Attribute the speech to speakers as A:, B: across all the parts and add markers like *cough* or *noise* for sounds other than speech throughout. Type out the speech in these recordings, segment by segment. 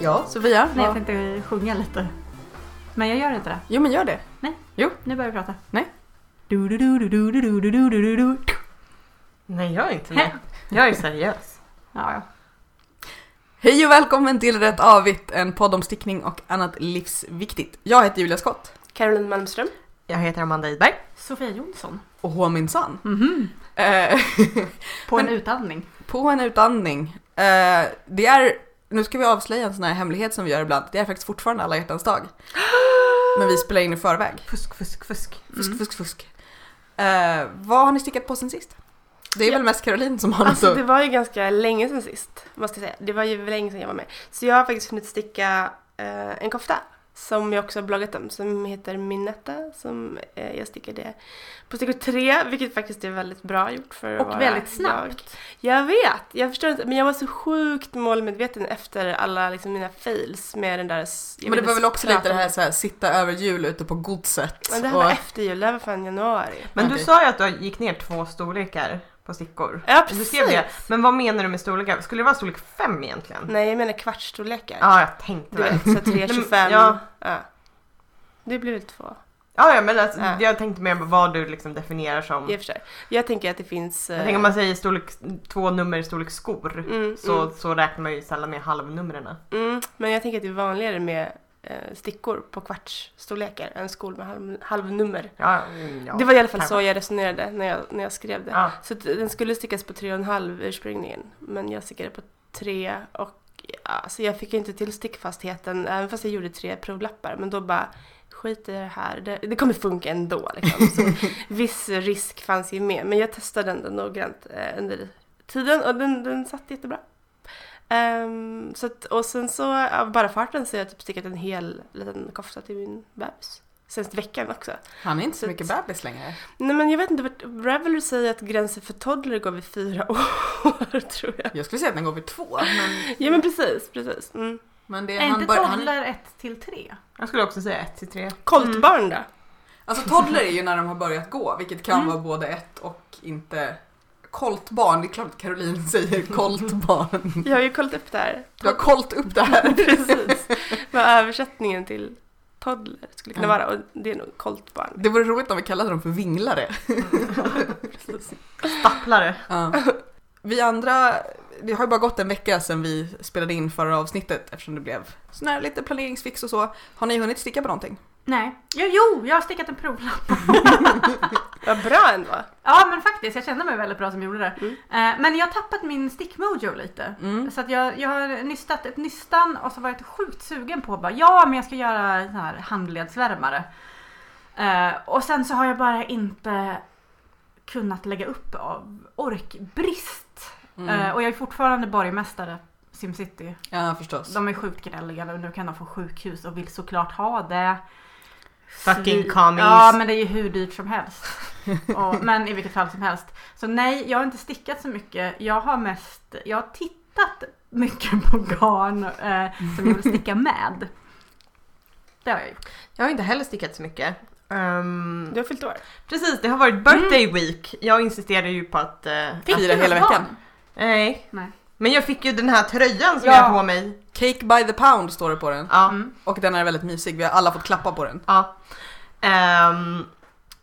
A: Ja.
B: Sofia?
C: Nej, jag
B: vad-
C: tänkte sjunga lite. Men jag gör inte det.
B: Jo men gör det.
C: Nu börjar vi prata.
B: Nej.
C: Du, du, du, du, du, du, du, du, du, du, du.
A: Nej, jag är inte med. Jag är seriös.
C: Ja, ja.
B: Hej och välkommen till Rätt Avigt, en podd om stickning och annat livsviktigt. Jag heter Julia Skott.
D: Caroline Malmström.
A: Jag heter Amanda Idberg.
C: Sofia Jonsson.
B: Och minsann.
C: Mhm.
B: Eh, *laughs*
C: På
B: Men- Mm.
C: en utandning.
B: på en utandning. Eh, det är, nu ska vi avslöja en sån här hemlighet som vi gör ibland. Det är faktiskt fortfarande alla hjärtans
C: *gasps*
B: dag. Men vi spelar in i förväg.
A: Fusk, fusk, fusk.
B: Fusk,
C: Mm.
B: fusk, fusk. Eh, vad har ni stickat på sen sist? Det är väl mest Caroline som har
D: Alltså
B: något
D: det
B: att...
D: var ju ganska länge sedan sist, måste jag säga. Det var ju länge sedan jag var med. Så jag har faktiskt hunnit sticka eh, en kofta som jag också har bloggat om, som heter Minetta, som eh, jag stickade på stickor tre, vilket faktiskt är väldigt bra gjort för att
C: Och
D: vara
C: väldigt
D: Jag.
C: snabbt.
D: Jag vet, jag förstår inte, men jag var så sjukt målmedveten efter alla liksom, mina fails med den där... s- jag
B: Men det
D: ville
B: var väl också
D: prata
B: lite det
D: om-
B: här, så här sitta över jul ute på godset.
D: Men det här
B: och-
D: var efter jul, det här var fan januari.
A: Men du
B: Okej.
A: sa ju att du gick ner två storlekar på stickor.
D: Ja,
A: Du
D: precis.
A: skrev det. Men vad menar du med storlekar? Skulle det vara storlek fem egentligen?
D: Nej, jag menar kvartsstorlekar.
A: Ja, jag tänkte
D: Du
A: väl.
D: vet,
A: *laughs*
D: så 3,25.
A: Ja.
D: ja. Det blir väl två,
A: Ja, ja, men alltså,
D: Ja.
A: jag tänkte mer på vad du liksom definierar som.
D: i och för sig. Jag tänker att det finns... eh,
A: Jag tänker om man säger storlek, två nummer i storlek skor.
D: mm,
A: Så,
D: mm,
A: så räknar man ju sällan med halvnumren.
D: mm, men jag tänker att det är vanligare med eh, stickor på kvartsstorlekar än skor med halv, halvnummer.
A: Ja, mm, ja.
D: det var i alla fall
A: kanske.
D: så jag resonerade när jag, när jag skrev det.
A: Ja.
D: Så att den skulle stickas på 3,5 ursprungligen, men jag stickade på 3 och ja, så jag fick ju inte till stickfastheten, även fast jag gjorde tre provlappar. Men då bara, skit i det här, det, det kommer funka ändå. Liksom. Så viss risk fanns ju med, men jag testade den noggrant eh, under tiden och den, den satt jättebra. Ehm, så att, och sen så, av bara farten så har jag typ stickat en hel liten kofta till min bebis. Senaste veckan också.
B: Han är inte så mycket bebis längre.
D: Nej men jag vet inte, vart- Ravelry säger att gränsen för toddler går vid fyra *laughs* år tror jag.
B: Jag skulle säga att den går vid två. Men,
D: Ja men precis, precis. Mm.
B: men det,
C: Är inte
B: bör-
C: toddler 1 till 3?
A: Jag skulle också säga ett till tre.
D: Koltbarn då?
B: alltså toddler är ju när de har börjat gå, vilket kan
C: Mm.
B: vara både ett och inte... Koltbarn, det är klart att Caroline säger koltbarn.
D: Jag har ju kollat upp det här.
B: Du har kolt upp det här.
D: precis. Vad översättningen till toddler skulle kunna
B: Ja.
D: vara och det är nog koltbarn.
B: Det vore roligt om vi kallade dem för vinglare.
C: *laughs*
A: Stapplare.
B: Ja. Vi andra, det har ju bara gått en vecka sedan vi spelade in förra avsnittet eftersom det blev sån här lite planeringsfix och så. Har ni hunnit sticka på någonting?
C: Nej. Jo, jo, jag har stickat en provlapp.
D: Vad bra ändå.
C: Ja, men faktiskt. Jag kände mig väldigt bra som gjorde det.
D: Mm.
C: Eh, Men jag har tappat min stickmojo lite.
B: Mm.
C: Så att jag, jag har nystat ett nystan och så varit sjukt sugen på bara, ja men jag ska göra en sån här handledsvärmare. Eh, och sen så har jag bara inte kunnat lägga upp av orkbrist.
B: Mm.
C: Eh, och jag är fortfarande borgmästare Simcity.
B: Ja, förstås.
C: De är sjukt gnälliga nu. Nu kan de få sjukhus och vill såklart ha det.
A: Fucking
C: Svin-
A: commies.
C: Ja men det är ju hur dyrt
B: *laughs*
C: som helst. Och, men i vilket fall som helst. Så nej, jag har inte stickat så mycket. Jag har mest, jag har tittat mycket på garn eh, som jag vill
B: *laughs*
C: sticka med. Det har jag gjort.
A: Jag har inte heller stickat så mycket. Ehm,
D: Du har fyllt år.
A: Precis, det har varit birthday week. Jag insisterade ju på att... eh,
B: Mm. Fick
A: att
B: du hela
C: något
B: veckan.
C: garn?
A: nej.
C: Nej.
A: Men jag fick ju den här tröjan som
C: Ja.
A: jag har på mig.
B: Cake by the pound står det på den.
A: Ja.
C: Mm.
B: Och den är väldigt mysig, vi har alla fått klappa på den.
A: ja. Ehm,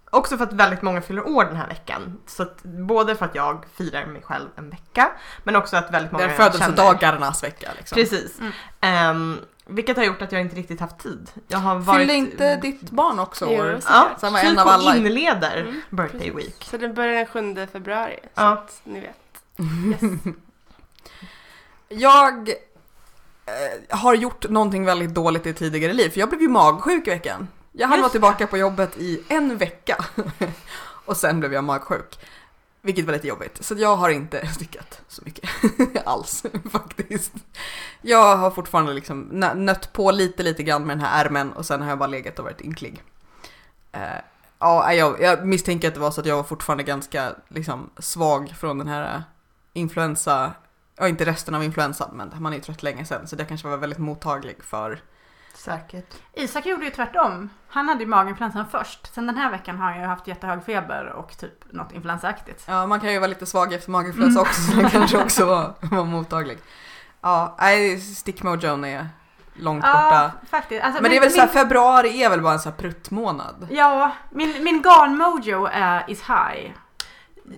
A: också för att väldigt många fyller år den här veckan. Så att, både för att jag firar mig själv en vecka, men också att
B: Det
A: väldigt många
B: är
A: jag känner.
B: födelsedagarnas vecka liksom.
A: Precis.
C: Mm.
A: Ehm, vilket har gjort att jag inte riktigt haft tid. Jag har varit...
B: Fyllde inte ditt barn också
D: Jo,
B: år?
D: så-
A: Ja,
B: Så han var
A: typ
B: en av
A: hon
B: alla.
A: inleder
D: Mm,
A: birthday
D: precis.
A: week.
D: Så den börjar den 7 februari. Så
A: Ja.
D: att ni vet. Yes.
B: Jag eh, har gjort någonting väldigt dåligt i tidigare liv, för jag blev ju magsjuk i veckan. Jag hann
A: Just
B: vara tillbaka på jobbet i en vecka *laughs* och sen blev jag magsjuk. Vilket var lite jobbigt, så jag har inte *laughs* stickat så mycket *laughs* alls faktiskt. Jag har fortfarande liksom nö- nött på lite, lite grann med den här ärmen och sen har jag bara legat och varit ynklig. Eh, ja, jag, jag misstänker att det var så att jag var fortfarande ganska liksom, svag från den här eh, influensa, ja inte resten av influensan men man är ju trött länge sen så det kanske var väldigt mottaglig för.
A: Säkert.
C: Isak gjorde ju tvärtom. Han hade ju maginfluensan först. Sen den här veckan har jag ju haft jättehög feber och typ något influensaaktigt.
B: Ja, man kan ju vara lite svag efter maginfluensa också så den kanske också var, var mottaglig. Ja, nej, stickmojon är långt
C: Ja,
B: borta.
C: faktiskt. Alltså,
B: Men det är
C: min-
B: väl så här,
C: min-
B: februari är väl bara en så här pruttmånad?
C: Ja, min, min garnmojo är is high.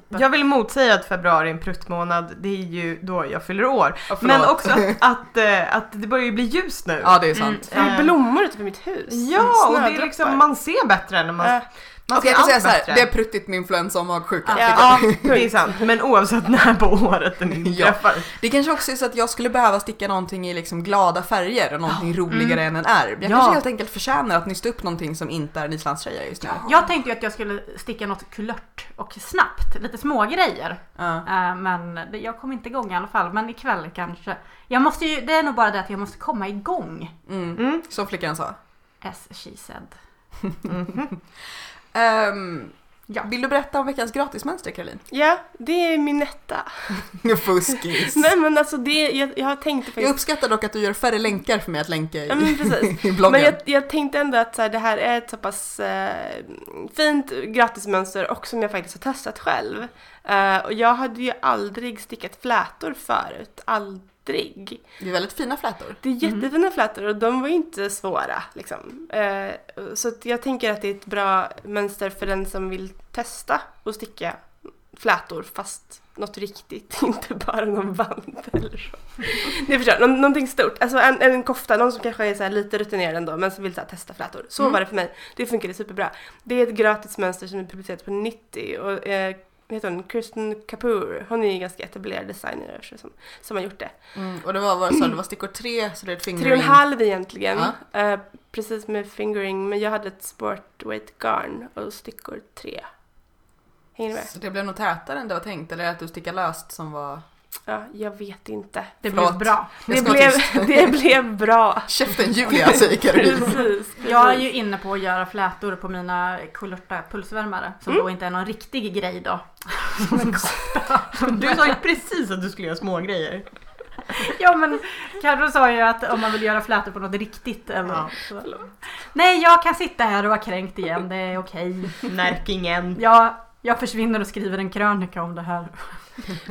A: Jag vill motsäga att februari är en pruttmånad, det är ju då jag fyller år.
B: Ja, förlåt.
A: Men också att, att, eh, att det börjar ju bli ljust nu.
B: Ja, det är
C: Mm.
B: sant.
D: Det är
A: Eh,
D: blommor utanför mitt hus.
A: Ja, och det är
D: Snödroppar.
A: liksom, man ser bättre när man,
D: Eh,
A: man
B: Okej, jag
A: ser
B: kan säga
A: allt
B: så här,
A: bättre.
B: det är pruttigt med influensa och magsjuka.
D: Ja.
A: Ja, *laughs* det är sant. Men oavsett när på året den inträffar.
B: Det kanske också är så att jag skulle behöva sticka någonting i liksom glada färger och någonting roligare än en ärb. Jag
A: Ja.
B: kanske helt enkelt förtjänar att nysta upp någonting som inte är en islandströja just nu.
C: Jag tänkte ju att jag skulle sticka något kulört och snabbt, lite små grejer.
B: Ja.
C: Eh, Men det- jag kom inte igång i alla fall, men ikväll kanske. Jag måste ju, det är nog bara det att jag måste komma igång.
B: Mm.
A: Mm.
B: Som flickan sa.
C: As she said.
A: mhm.
B: Ehm, ja. Vill du berätta om veckans gratismönster Caroline?
D: Ja, det är min etta.
B: *laughs* Fuskis.
D: *laughs* Nej men alltså det, jag, jag tänkte
B: Jag
D: faktiskt...
B: uppskattar dock att du gör färre länkar för mig att länka i,
D: Ja men precis.
B: i bloggen.
D: Men jag, jag tänkte ändå att så här, det här är ett så pass eh, fint gratismönster och som jag faktiskt har testat själv. Eh, och jag hade ju aldrig stickat flätor förut. Aldrig.
B: Det är väldigt fina flätor.
D: Det är jättefina flätor och de var ju inte svåra. Liksom. Eh, så att jag tänker att det är ett bra mönster för den som vill testa att sticka flätor fast något riktigt, *laughs* inte bara någon vant eller så. Ni förstår, nå- någonting stort. Alltså en, en kofta, någon som kanske är så här lite rutinerad ändå men som vill så här testa flätor. Så var det för mig. Det funkade superbra. Det är ett gratis mönster som är publicerat på 90 och eh, vad heter hon? Kirsten Kapoor, hon är ju en ganska etablerad designer så som, som har gjort det.
B: Mm. Och det var, vad sa du, det var stickor tre så det är ett
D: Tre och en
B: fingering.
D: halv egentligen.
B: Ja.
D: Eh, precis med fingering, men jag hade ett sportweight garn och stickor tre. Hänger ni med?
B: Så det blev nog tätare än det var tänkt, eller att du stickar löst som var...
D: Ja, jag vet inte.
C: Det blev
B: Förlåt.
C: bra.
B: Jag
D: Det
B: ska vara
D: blev,
B: tyst.
D: *laughs* det blev bra.
B: *laughs* Käften Julia säger Caroline.
D: Precis.
C: Jag är
D: precis.
C: ju inne på att göra flätor på mina kulörta pulsvärmare som då inte är någon riktig grej då. *laughs*
A: Du sa ju precis att du skulle göra små grejer.
C: Ja men Carro sa ju att om man vill göra flätor på något riktigt eller
A: Ja.
C: så.
D: Förlåt.
C: Nej jag kan sitta här och vara kränkt igen, det är okej.
A: Närkingen.
C: Jag, jag försvinner och skriver en krönika om det här.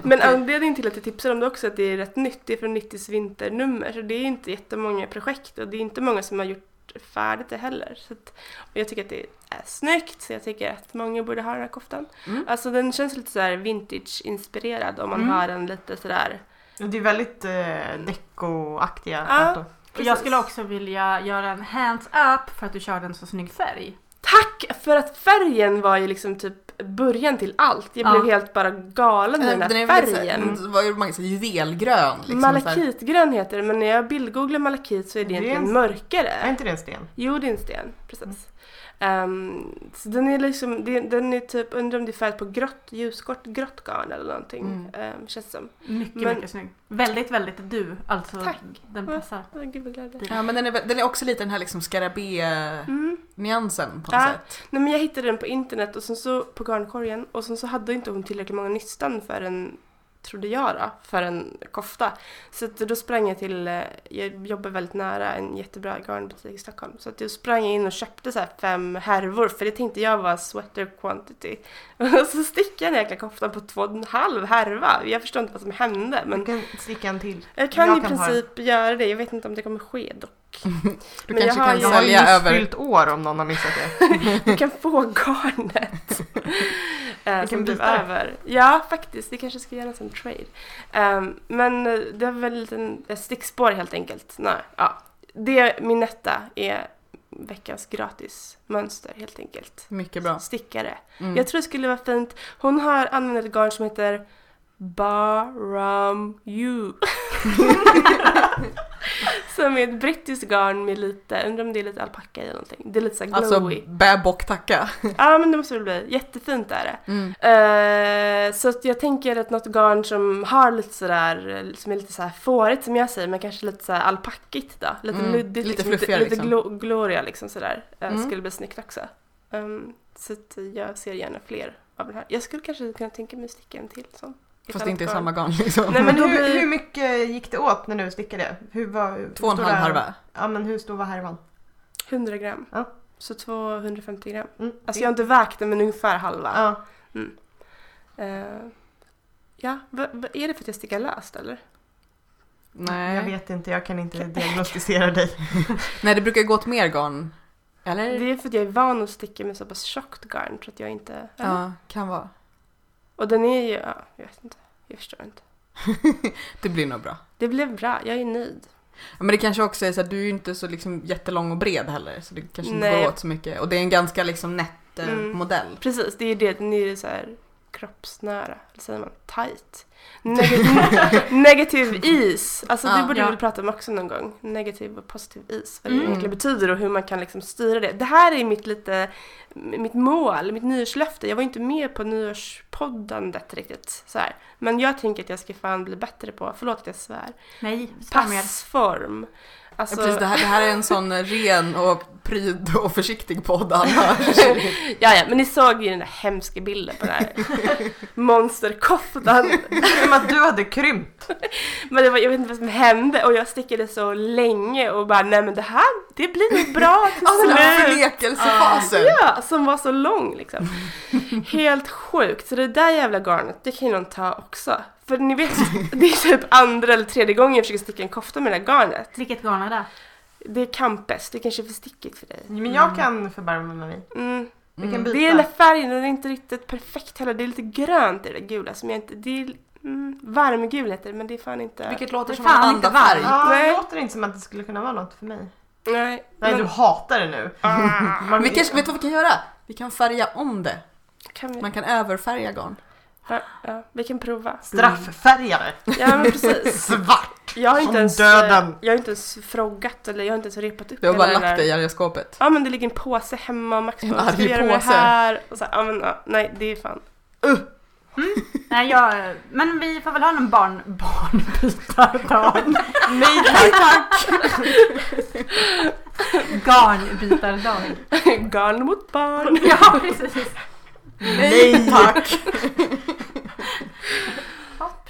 D: Men anledningen till att jag tipsar om det också är att det är rätt nytt. Det är från 90s vinternummer så det är inte jättemånga projekt och det är inte många som har gjort färdigt det heller. Så att, och jag tycker att det är snyggt så jag tycker att många borde ha den här koftan.
B: Mm.
D: Alltså den känns lite så här vintage-inspirerad om man
C: Mm.
D: har den lite sådär
A: Det är väldigt eh, dekoaktiga
D: Ja.
A: flätor.
C: Och Jag skulle
D: Precis.
C: också vilja göra en hands up för att du körde en så snygg färg.
D: Tack! För att färgen var ju liksom typ början till allt. Jag
C: Ja.
D: blev helt bara galen med den här
B: Ehm, Den är väl lite
D: färgen.
B: såhär- Vad gjorde man? Såhär Juvelgrön. Liksom, såhär.
D: Malakitgrön heter det, men när jag bildgooglar malakit så är det
A: Det är
D: egentligen
A: en- Är
D: mörkare.
A: inte det en sten?
D: Jo, det är en sten. Precis. Ehm, så den är liksom, det- den är typ, undrar om det är färgat på grått, ljusgrått grått garn eller någonting.
B: Mm.
D: Ehm, känns det som.
C: Mycket,
D: Men-
C: mycket snygg. Väldigt, väldigt du. Alltså,
D: Tack.
C: den passar.
D: Åh, gud vad glad jag är.
B: Ja, men den är, väl- den är också lite den här liksom skarabé-nyansen
D: Mm.
B: på något
D: Ja.
B: sätt.
D: Nej men jag hittade den på internet och sen så på garnkorgen och sen så hade inte hon tillräckligt många nystan för en, trodde jag då, för en kofta. Så att då sprang jag till, eh, jag jobbar väldigt nära en jättebra garnbutik i Stockholm. Så att då sprang jag in och köpte så här fem härvor för det tänkte jag var sweater quantity. *laughs* Och så stickade jag den jäkla koftan på två och en halv härva. Jag förstår inte vad som hände men
A: Du kan sticka en till.
D: jag kan
A: jag
D: i
A: kan ha
D: princip göra det. Jag vet inte om det kommer ske dock.
B: *laughs* Du
D: Men jag
B: kanske
D: har
B: kan
D: ju-
A: Jag har ju
B: sälja
A: nyss
B: över...
A: fyllt år om någon har missat det.
D: Du kan få
B: *laughs*
D: garnet. eh, som
A: kan
D: blev
A: byta.
D: över. Ja, faktiskt. Vi kanske ska göra en sån trade. Ehm, men eh, det är väl en liten ett stickspår helt enkelt. Nej, ja. Det, min etta är veckans gratis mönster helt enkelt.
B: Mycket bra.
D: Stickare.
B: Mm.
D: Jag tror det skulle vara fint. Hon har använt ett garn som heter Baram
B: *laughs*
D: You. *laughs* som är ett brittiskt garn med lite, undrar om det är lite alpacka i eller någonting. Det är lite såhär glowy.
B: Alltså bäbock-tacka.
D: Ja men det måste det bli. Jättefint är det.
B: Mm.
D: Eh, så att jag tänker att något garn som har lite sådär, eh, som är lite såhär fårigt som jag säger, men kanske lite såhär alpackigt då. Lite
B: Mm,
D: luddigt.
B: lite
D: liksom,
B: fluffigare,
D: Lite, lite
B: liksom.
D: glo- gloria liksom sådär. eh,
B: Mm.
D: Skulle bli snyggt också. Ehm, så att jag ser gärna fler av den här. Jag skulle kanske kunna tänka mig att sticka en till sån. Ett
B: Fast
D: annat
B: inte i
D: garn.
B: samma garn liksom.
D: Nej men då
A: hur, hur
D: blir...
A: mycket gick det åt när du stickade? Hur var, hur
B: Två och en
A: stor
B: halv
A: är-
B: harva.
A: Ja men hur stor var härvan?
D: 100 gram.
A: Ja.
D: Så 250 gram.
A: Mm.
D: Alltså jag har inte vägt den men ungefär halva.
A: ja.
D: Eh, ja, vad vad är det för att jag stickar löst eller?
A: Jag
B: Nej.
A: vet inte, jag kan inte
B: *laughs*
A: diagnostisera dig.
B: Nej, det brukar ju gå åt mer garn. Eller?
D: Det är för att jag är van att sticka med så pass tjockt garn så att jag inte...
B: Ja, kan vara.
D: Och den är ju... Ja, jag vet inte. Jag förstår inte.
B: Det blir nog bra.
D: Det blev bra. Jag är nöjd.
B: Ja, Men det kanske också är så att du är ju inte så liksom jättelång och bred heller. Så det kanske inte
D: Nej.
B: går åt så mycket. Och det är en ganska liksom nätt eh,
D: Mm.
B: modell.
D: Precis, det är ju det. Den är ju så här kroppsnära. Eller säger man tight? *laughs* Negativ, negativ is. Alltså
B: Ja.
D: det borde
C: Ja.
D: vi väl prata om också någon gång. Negativ och positiv is. Vad det
C: Mm.
D: egentligen betyder och hur man kan liksom styra det. Det här är mitt lite, mitt mål, mitt nyårslöfte. Jag var inte med på nyårspoddandet riktigt. Så här. Men jag tänker att jag ska fan bli bättre på, förlåt att jag svär,
C: Nej, svär mer.
D: passform. Alltså,
B: ja, precis, det här, det här är en sån eh, ren och pryd och försiktig podd
D: *laughs*
B: Alltså, annars.
D: Ja, ja, men ni såg ju den där hemska bilden på den
B: *laughs*
D: här monsterkoftan.
A: Som att du hade krympt.
D: Men det var, jag vet inte vad som hände och jag stickade så länge och bara nej men det här, det blir
B: *laughs*
D: nog bra till
B: Ja, den här
D: slut.
B: förnekelsefasen.
D: Ja, som var så lång liksom. Helt sjukt. Så det där jävla garnet, det kan ju någon ta också. För
B: *laughs*
D: ni vet, det är typ andra eller tredje gången jag försöker sticka en kofta med det här garnet.
C: Vilket garn är det?
D: Det är campes, det kanske är för stickigt för dig.
A: Men jag kan förbarma mig.
D: Mm.
A: Vi kan
B: Mm.
A: byta.
D: Det är den där färgen, den är inte riktigt perfekt heller. Det är lite grönt i det gula som jag inte... Det är mm, varmgul heter det, men det är fan inte...
B: Vilket låter
C: Det är
B: som en
C: fan inte
B: andafärg.
C: varmt.
A: Ja, det
D: Nej.
A: låter inte som att det skulle kunna vara något för mig.
D: Nej.
A: Nej,
D: men-
A: du hatar det nu. Man,
B: Ah. Vi kanske, vet du vad vi kan göra? Vi kan färga om det.
D: Kan vi...
B: Man kan överfärga garn.
D: Ja, ja, vi kan prova.
A: Strafffärgare.
D: Ja, men
B: Mm.
D: precis.
A: Svart.
D: Jag har
A: Som
D: inte ens,
A: döden.
D: Jag har inte ens frågat eller jag har inte ens repat upp
B: Du har bara
D: hela den
B: lagt
D: där.
B: det i argaskåpet.
D: Ja, men det ligger en påse hemma och Max
B: En
D: bara, ska vi
B: arg
D: göra med det
B: påse."
D: här? Och så, här, ja, men, ja, nej, det är fan. *laughs*
C: Nej, jag... Men vi får väl ha någon barn... Barnbytardag.
D: Nej,
C: *laughs* Nej tack! Garnbytardag.
D: garn mot barn.
C: Ja, precis.
B: Nej *laughs* tack!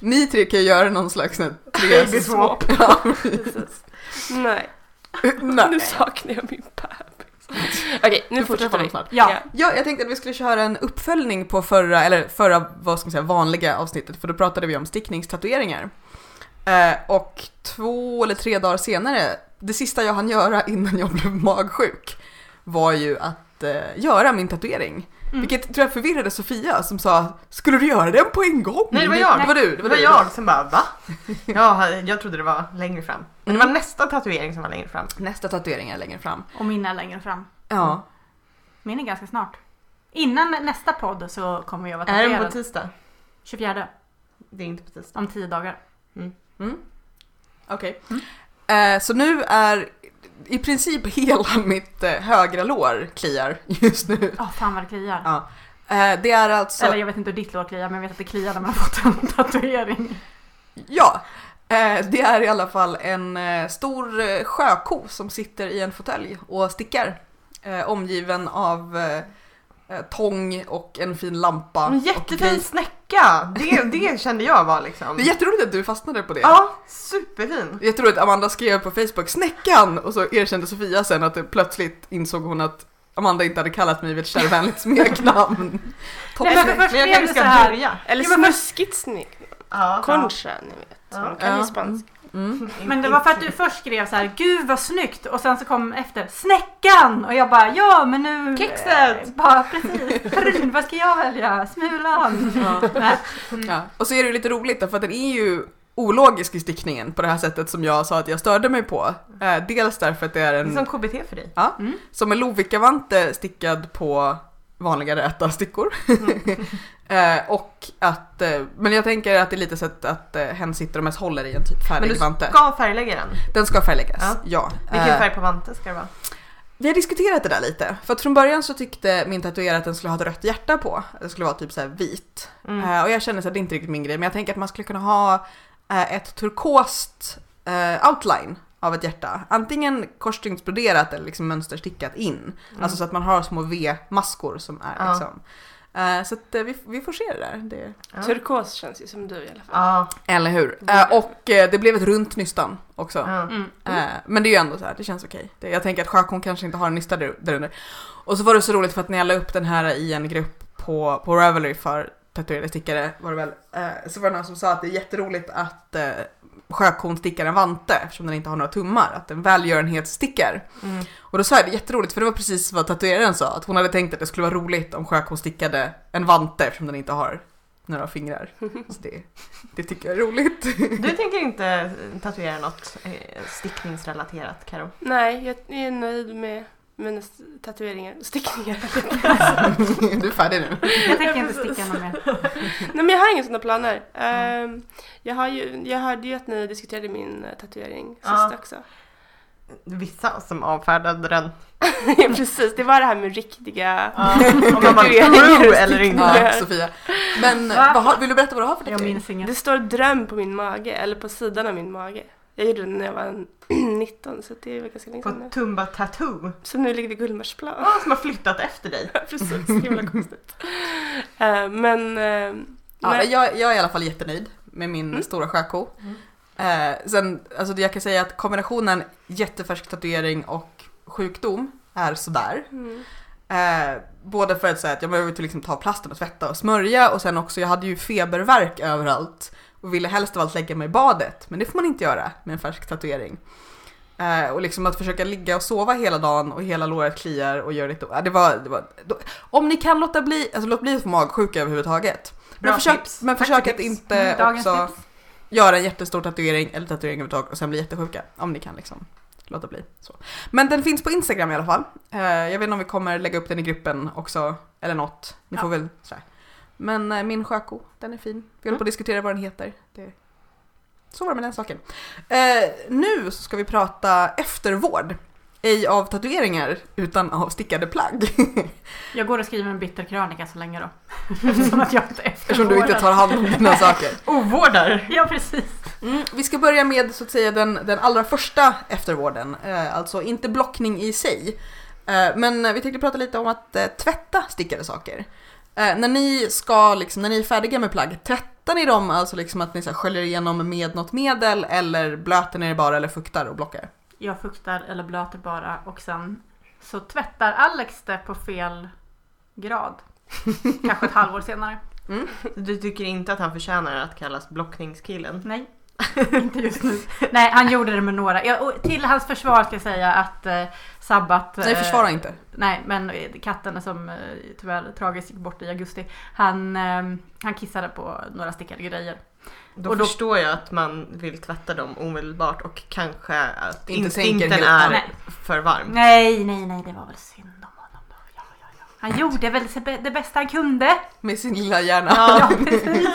B: Ni tre kan ju göra någon slags
D: *laughs*
B: sån här tre...
A: Baby swap.
B: *laughs* Ja.
D: Precis. Nej,
B: Nej.
D: nu saknar jag min bebis. Okej, nu
B: Du får träffa
D: fortsätter
B: dem
D: vi.
B: snart.
C: Ja.
B: Ja, jag tänkte att vi skulle köra en uppföljning på förra, eller förra, vad ska man säga, vanliga avsnittet, för då pratade vi om stickningstatueringar. Eh, och två eller tre dagar senare, det sista jag hann göra innan jag blev magsjuk, var ju att eh, göra min tatuering.
C: Mm.
B: Vilket tror jag förvirrade Sofia som sa, skulle du göra den på en gång?
A: Nej, det var jag.
B: Det var du. Mm.
A: Det var jag som bara va? Ja, jag trodde det var längre fram. Men
B: Mm.
A: det var nästa tatuering som var längre fram.
B: Nästa tatuering är längre fram.
C: Och min är längre fram.
A: Mm.
B: Ja.
C: Min är ganska snart. Innan nästa podd så kommer jag vara
A: Är den på
C: tatuerad.
A: tisdag?
C: 24.
A: Det är inte på tisdag.
C: Om 10 dagar.
B: Okej.
A: Mm.
B: Eh, så nu är i princip hela *laughs* mitt eh, högra lår kliar just nu.
C: Åh fan vad det kliar.
B: Ja. Eh, det är alltså...
C: Eller jag vet inte hur ditt lår kliar men jag vet att det kliar när man har fått en *laughs* tatuering.
B: Ja. Eh, det är i alla fall en eh, stor eh, sjöko som sitter i en fåtölj och stickar. Eh, omgiven av eh, eh, tång och en fin lampa.
A: Men
B: och
A: jättefin
B: gris.
A: snäcka! Det, det kände jag var liksom.
B: Det är jätteroligt att du fastnade på det.
A: Ja, superfin.
B: Jätteroligt, Amanda skrev på Facebook snäckan och så erkände Sofia sen att det plötsligt insåg hon att Amanda inte hade kallat mig vid ett kärvänligt
A: *laughs*
B: smeknamn.
C: Nej, men för
B: Toppen.
C: först
A: Men
C: blev
A: jag
C: det
A: kanske
C: så
A: ska
C: här.
A: börja.
D: Eller
C: Ja, men först-
D: snuskigt snygg.
A: Ja.
D: Concha, ni vet.
A: Ja. *laughs*
D: Man kan
B: Ja.
D: ju spanska.
B: Mm.
C: Men det var för att
A: typ-
C: du först skrev så här, gud vad snyggt och sen så kom efter snäckan och jag bara ja men nu... Eh,
A: Kexet!
C: Bara precis, Pryn, vad ska jag välja? Smulan! Nej.
B: Ja. Och så är det ju lite roligt därför att den är ju ologisk i stickningen på det här sättet som jag sa att jag störde mig på. Eh, dels därför att det är
A: Det är
B: en
C: liksom
A: som KBT för dig.
C: Mm,
B: som en lovikkavante stickad på vanliga räta stickor. *laughs* eh, och att, eh, men jag tänker att det är lite så att, att eh, hen sitter och mest håller i en typ
A: Men
B: färdig
A: du
B: vante.
A: ska färglägga den.
B: Den ska färgläggas,
A: Ja.
B: ja.
A: Vilken
B: Eh,
A: färg på vante ska det vara?
B: Vi har diskuterat det där lite. För att från början så tyckte min tatuerare att den skulle ha ett rött hjärta på. Att Den skulle vara typ så här vit.
A: Mm.
B: Eh, och jag kände så att det är inte riktigt min grej. Men jag tänker att man skulle kunna ha eh, ett turkost eh, outline av ett hjärta. Antingen korsstygnsbroderat eller liksom mönsterstickat in. Alltså så att man har små V-maskor som är
A: Mm. Ja.
B: liksom. Eh, så att eh, vi, vi får se det där. Det...
A: Ja.
D: Turkos känns ju som du i alla fall.
A: Ja.
B: Eller hur? Eh, och eh, det blev ett runt nystan också.
A: ja.
C: Mm.
B: Eh, men det är ju ändå så här, det känns okej. Det- Jag tänker att Sjökon kanske inte har en nysta där, där under. Och så var det så roligt för att när jag la upp den här i en grupp på, på Ravelry för tatuerade stickare var det väl, eh, så var det någon som sa att det är jätteroligt att eh, sjökon stickar en vante eftersom den inte har några tummar, att den välgörenhetsstickar.
A: Mm.
B: Och då sa jag det jätteroligt för det var precis vad tatueraren sa, att hon hade tänkt att det skulle vara roligt om sjökon stickade en vante eftersom den inte har några fingrar. Så det, det tycker jag är roligt.
A: Du tänker inte tatuera något eh, stickningsrelaterat Karo?
D: Nej, jag är nöjd med mina s- tatueringar och stickningar.
B: *laughs* du är färdig nu.
C: Jag tänker inte sticka någon mer.
D: Nej men jag har inga sådana planer. Ehm, jag, har ju, jag hörde ju att ni diskuterade min eh, tatuering sist
A: Ja.
D: också. *laughs*
A: Vissa som avfärdade den.
D: ja precis, det var det här med riktiga...
A: Om de var
D: Tatueringar
A: true
D: och
A: eller inte.
B: Ja, Sofia. Men
C: Va?
B: vad har, vill du berätta vad du har för
C: Jag minns inget.
D: Det står dröm på min mage, eller på sidan av min mage. Jag gjorde den när jag *clears throat* var 19 så det var ganska länge
A: På
D: sedan nu.
A: Tumba Tattoo.
D: Så nu ligger
A: *laughs*
D: vi Gullmarsplan. *laughs*
A: Ja, Som har flyttat efter dig.
D: precis, himla konstigt. Eh, men... eh,
B: Ja,
D: nej.
B: jag, jag är i alla fall jättenöjd med min
D: Mm.
B: stora sjöko. Eh, sen, alltså det jag kan säga att kombinationen jättefärsk tatuering och sjukdom är sådär.
D: Mm.
B: Eh, både för att säga att jag behövde liksom ta plasten och tvätta och smörja och sen också jag hade ju feberverk överallt och ville helst av allt lägga mig i badet men det får man inte göra med en färsk tatuering. Eh, och liksom att försöka ligga och sova hela dagen och hela låret kliar och gör lite... Ja, det var, det var, då, om ni kan låta bli, alltså låt bli att få magsjuka överhuvudtaget.
A: Bra
B: men försök,
A: tips.
B: men
A: Tack
B: försök
A: för
B: att
A: tips.
B: inte
C: Dagens
B: också
C: tips.
B: göra en jättestor tatuering eller tatuering överhuvudtaget och sen bli jättesjuka. Om ni kan liksom låta bli. Så. Men den finns på Instagram i alla fall. Eh, jag vet inte om vi kommer lägga upp den i gruppen också eller något. Ni
C: Ja.
B: får väl sådär. Men eh, min sjöko, den är fin. Vi håller på att diskutera vad den heter. Det... Så var det med den saken. Eh, nu så ska vi prata eftervård. Ej av tatueringar utan av stickade plagg. *laughs*
C: Jag går och skriver en bitter krönika så länge då. *laughs* Eftersom att jag inte
B: Eftersom du inte tar hand om dina saker.
A: Ovårdar.
C: *laughs* Ja precis.
B: Mm, vi ska börja med så att säga den, den allra första eftervården, eh, alltså inte blockning i sig. Eh, men eh, vi tänkte prata lite om att eh, tvätta stickade saker. Eh, när ni ska, liksom, när ni är färdiga med plagg, tvättar ni dem alltså liksom att ni så här, sköljer igenom med något medel eller blöter ni det bara eller fuktar och blockar?
C: Jag fuktar eller blöter bara och sen så tvättar Alex det på fel grad. Kanske ett halvår senare.
A: Du tycker inte att han förtjänar att kallas blockningskillen?
C: Nej,
B: *laughs*
C: inte just nu. Nej, han gjorde det med några. Ja, och till hans försvar ska jag säga att eh, Sabbat...
B: Nej,
C: eh,
B: försvara inte.
C: Nej, men katten som eh, tyvärr tragiskt gick bort i augusti. Han, eh, han kissade på några stickade grejer.
A: Då,
C: Och då-
A: förstår jag att man vill tvätta dem omedelbart och kanske att
B: Inte
A: instinkten
B: tänker helt-
A: är
C: Nej.
A: för varm.
C: Nej, nej, nej, det var väl synd om honom då. Ja, ja, ja. Han gjorde väl se- det bästa han kunde.
B: Med sin lilla hjärna.
C: Ja, precis.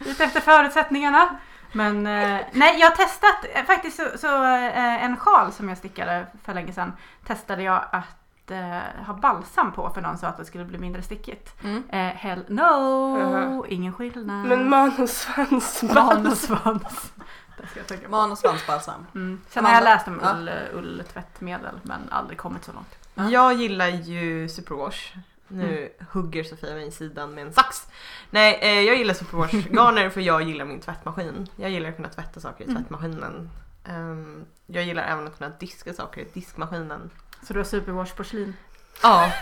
C: Utefter förutsättningarna. Men eh, nej, jag har testat eh, faktiskt så, så eh, en sjal som jag stickade för länge sedan testade jag att eh, ha balsam på för någon sa att det skulle bli mindre stickigt.
B: Mm.
C: Eh, hell no,
D: Uh-huh.
C: ingen skillnad.
D: Men man och svans
C: man
D: *laughs*
C: och svans. Det ska jag tänka på.
B: Man och svansbalsam.
C: Mm. Sen har jag läst om
B: Ja.
C: ull, ulltvättmedel men aldrig kommit så långt.
B: Ja.
A: Jag gillar ju superwash. Nu
C: Mm.
A: hugger Sofia mig i sidan med en sax. Nej, eh, jag gillar superwash-garner för jag gillar min tvättmaskin. Jag gillar att kunna tvätta saker i
C: Mm.
A: tvättmaskinen. Ehm, jag gillar även att kunna diska saker i diskmaskinen.
C: Så du har superwash porslin.
A: Ja.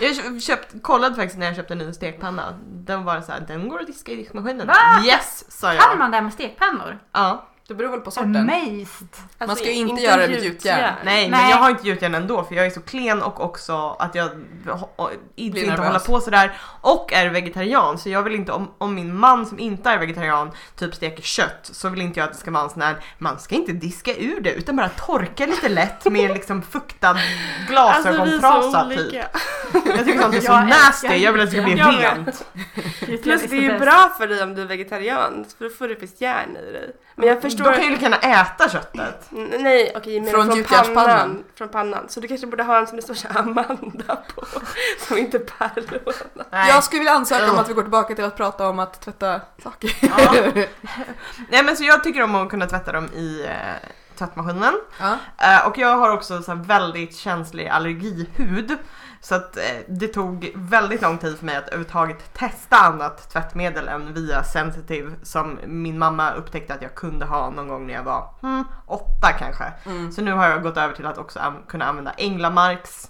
A: jag köpt, kollade faktiskt när jag köpte en ny stekpanna. Den var så här, den går att diska i diskmaskinen.
C: Va?
A: Yes, sa jag.
C: Kan man det här med stekpennor?
A: Ja.
B: Det beror väl på sorten.
C: Amazed!
B: Man
D: alltså,
B: ska ju inte göra det med gjutjärn.
A: Nej, men
C: Nej.
A: jag har inte gjutjärn ändå för jag är så klen och också att jag ho- inte, inte
B: nervös.
A: hålla på sådär. Och är vegetarian så jag vill inte om, om min man som inte är vegetarian typ steker kött så vill inte jag att det ska vara en sån här man ska inte diska ur det utan bara torka lite lätt med liksom fuktad
D: Alltså vi är så
A: glasögontrasa typ.
D: olika.
A: Jag tycker sånt är så
C: Jag älskar
A: nasty, jag vill att det ska bli
D: Jag med.
A: rent.
D: Plus liksom det är ju bra för dig om du är vegetarian för då får du visst järn i dig. Men jag förstår...
A: Då kan jag ju lika gärna äta köttet.
D: N- Nej okej jag menar
B: Från
D: från,
B: gjutjärnspannan.
D: pannan. Från pannan. Så du kanske borde ha en som det står så här Amanda på. *laughs* Som inte Perlo.
A: Nej.
B: Jag skulle vilja ansöka om
A: Ugh.
B: att vi går tillbaka till att prata om att tvätta saker.
A: Ja. Nej men så jag tycker om att kunna tvätta dem i eh, tvättmaskinen.
B: *laughs* Ja.
A: Eh, och jag har också så här väldigt känslig allergihud. Så att eh, det tog väldigt lång tid för mig att överhuvudtaget testa annat tvättmedel än via Sensitive som min mamma upptäckte att jag kunde ha någon gång när jag var hmm, åtta kanske.
B: Mm.
A: Så nu har jag gått över till att också an- kunna använda Änglamarks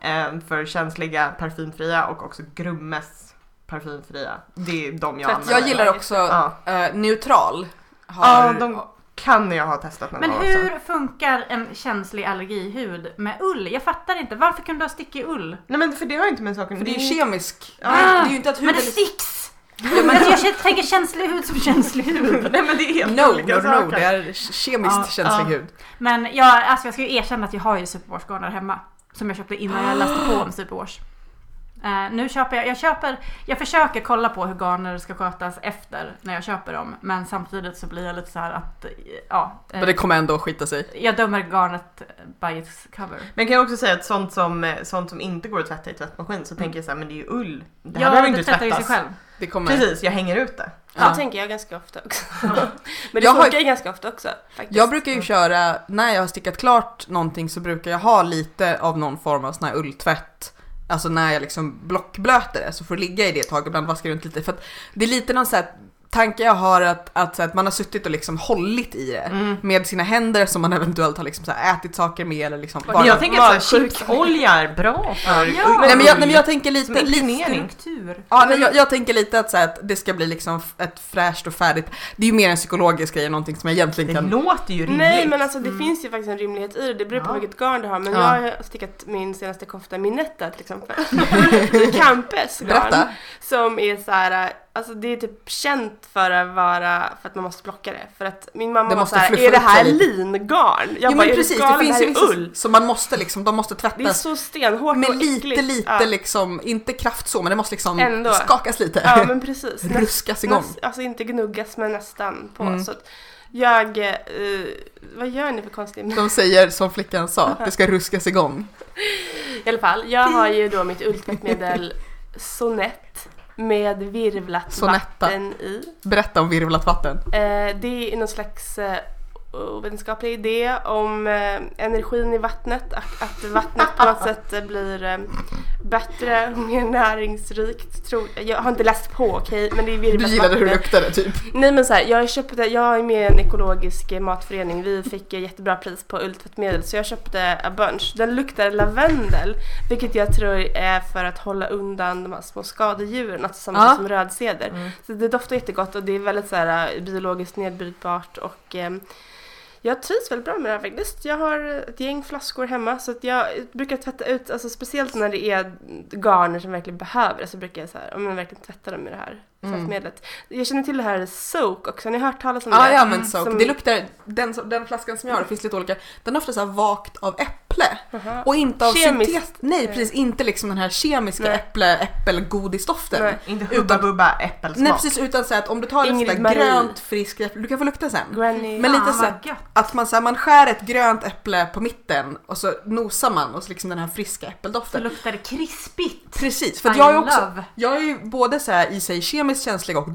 A: eh, för känsliga parfymfria och också Grummes parfymfria. Det är de jag
D: Tvätt-
A: använder.
B: Jag gillar också
A: Ja.
B: eh, neutral. har...
A: Ja, de- Kan jag ha testat någon
C: Men
A: gång också.
C: hur funkar en känslig allergihud med ull? Jag fattar inte. Varför kunde du ha stickig ull?
A: Nej men för det har inte med saken
B: För
A: Mm.
B: det är ju kemisk.
A: Ja.
B: Det är ju inte att
C: Men det
B: huden...
C: sticks! Alltså, jag känner- tänker känslig hud som känslig hud.
A: Nej men det är helt
B: No,
A: olika
B: no, no,
A: saker.
B: det är kemiskt
C: Ja,
A: Ah,
B: känslig
A: ja.
B: hud.
C: Men jag, alltså jag ska ju erkänna att jag har ju superwashgarnar hemma. Som jag köpte innan jag läste på om superwash. Eh, nu köper jag, jag köper, jag försöker kolla på hur garner ska skötas efter när jag köper dem. Men samtidigt så blir jag lite så här att, eh, ja. eh,
B: Men det kommer ändå att skita sig.
C: Jag dömer garnet by its cover.
A: Men kan jag också säga att sånt som, eh, sånt som inte går att tvätta i tvättmaskin så tänker jag så här, men det är ju ull. Mm. Det här
C: Ja,
A: behöver
C: det
A: inte
C: tvättar ju
A: tvättas.
C: sig själv.
B: Det kommer...
A: Precis, jag hänger ut det.
D: Så
B: Ja.
D: tänker jag ganska ofta också. Men det
B: Jag har-
D: funkar ju ganska ofta också faktiskt.
B: Jag brukar ju köra, när jag har stickat klart någonting så brukar jag ha lite av någon form av sån här ulltvätt. Alltså när jag liksom blockblöter det så får det ligga i det ett tag, ibland vaskar jag runt lite. För att det är lite någon sån här tanke jag har att, att, så här, att man har suttit och liksom hållit i det
A: Mm.
B: med sina händer som man eventuellt har liksom så här ätit saker med eller liksom bara...
A: Men jag tänker att så här,
D: magsjuk.
A: chipsolja är bra för
C: Ja.
B: nej, men jag, nej men jag tänker lite...
A: Som
B: lite
A: impregnering.
C: Struktur.
B: Ja, nej, jag, jag tänker lite att, så här, att det ska bli liksom f- ett fräscht och färdigt. Det är ju mer en psykologisk grej än någonting som jag egentligen
A: Det
B: kan...
A: låter ju rimligt.
D: Nej men alltså det finns ju faktiskt en rimlighet i det. Det beror på
A: Ja.
D: vilket garn du har. Men
B: Ja.
D: jag har stickat min senaste kofta minetta till exempel. *laughs* I Campes garn.
B: Berätta.
D: Som är så här, alltså det är typ känt för att vara, för att man måste plocka det. För att min mamma
B: Det
D: var
B: måste
D: så här,
B: fluffa
D: är det
B: upp
D: här
B: sig lite."
D: lingarn? Jag
B: jo
D: bara,
B: men precis, det finns ju
D: ju
B: vissa
D: ull.
B: som man måste liksom, de måste
D: Det är
B: tvättas.
D: så stenhårt och
B: Med lite,
D: äckligt.
B: lite
D: ja.
B: liksom, inte kraft så, men det måste liksom
D: Ändå.
B: skakas lite.
D: ja
B: *laughs*
D: men precis. Nästan-
B: Ruskas igång.
D: Näst, alltså inte gnuggas men nästan på.
B: Mm.
D: Så att jag, eh, vad gör ni för konstiga
B: De säger som flickan sa, det ska ruskas igång.
D: I alla fall, jag har ju då mitt ultimatmedel Sonett med virvlat
B: Sonetta.
D: vatten i.
B: Berätta om virvlat vatten.
D: Eh, det är någon slags eh, ovetenskaplig idé om eh, energin i vattnet, att, att vattnet
B: *laughs*
D: på något sätt eh, blir eh, bättre och mer näringsrikt. Tror, jag har inte läst på okej, men det är virvlat
B: Du gillade hur det
D: vatten.
B: luktade typ.
D: Nej men så här, jag köpte, jag är med i en ekologisk eh, matförening, vi fick eh, jättebra pris på ulltvättmedel så jag köpte a bunch. Den luktar lavendel, vilket jag tror är för att hålla undan de här små skadedjuren, alltså samma
B: Ja.
D: sak som rödseder.
A: Mm.
D: Så det doftar jättegott och det är väldigt så här eh, biologiskt nedbrytbart och ehm, jag trivs väldigt bra med det här faktiskt. Jag har ett gäng flaskor hemma så att jag brukar tvätta ut, alltså speciellt när det är garner som verkligen behöver det så brukar jag så här, om jag verkligen tvätta dem med det här
A: Mm.
D: tvättmedlet. Jag känner till det här soak också, har ni hört talas om
B: Ja,
D: det?
B: jag har använt soak.
D: Som-
B: Det luktar, den, som- den flaskan som jag har, det finns lite olika, den är ofta så här vagt av äpple.
D: Aha.
B: Och inte av
D: Kemiskt.
B: syntet. Nej precis, inte liksom den här kemiska
D: Nej.
B: äpple, äppelgodisdoften.
D: Nej.
B: Nej.
A: Inte hubba bubba äppelsmak.
B: precis, utan så här att om du tar
D: Ingrid
B: ett sånt där
D: Marie.
B: grönt friskt äpple, du kan få lukta sen.
D: Granny.
B: Men lite
C: Fan,
B: så här-
C: vad gött.
B: Att man, så här, man skär ett grönt äpple på mitten och så nosar man och så liksom den här friska
C: Så
B: äppeldoften.
C: luktar det krispigt.
B: Precis, för att
C: I
B: jag är också,
C: love.
B: jag är ju både så här i sig kemiskt känslig och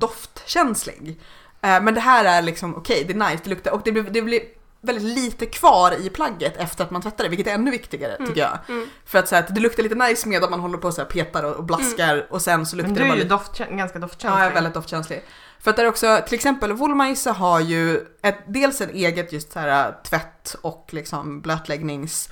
B: doftkänslig. Eh, Men det här är liksom okej, det är nice, det luktar och det blir, det blir väldigt lite kvar i plagget efter att man tvättar det, vilket är ännu viktigare tycker jag.
D: mm.
B: För att, så här, att det luktar lite nice medan man håller på och så här, petar och, och blaskar
D: Mm.
B: och sen så
A: Men
B: luktar
A: du
B: det bara
A: är ju
B: lite
A: doftkä- ganska doftkänslig.
B: Ja, jag är väldigt doftkänslig. För att det är också, till exempel Woolmeisse har ju ett, dels ett eget just så här äh, tvätt och liksom blötläggnings...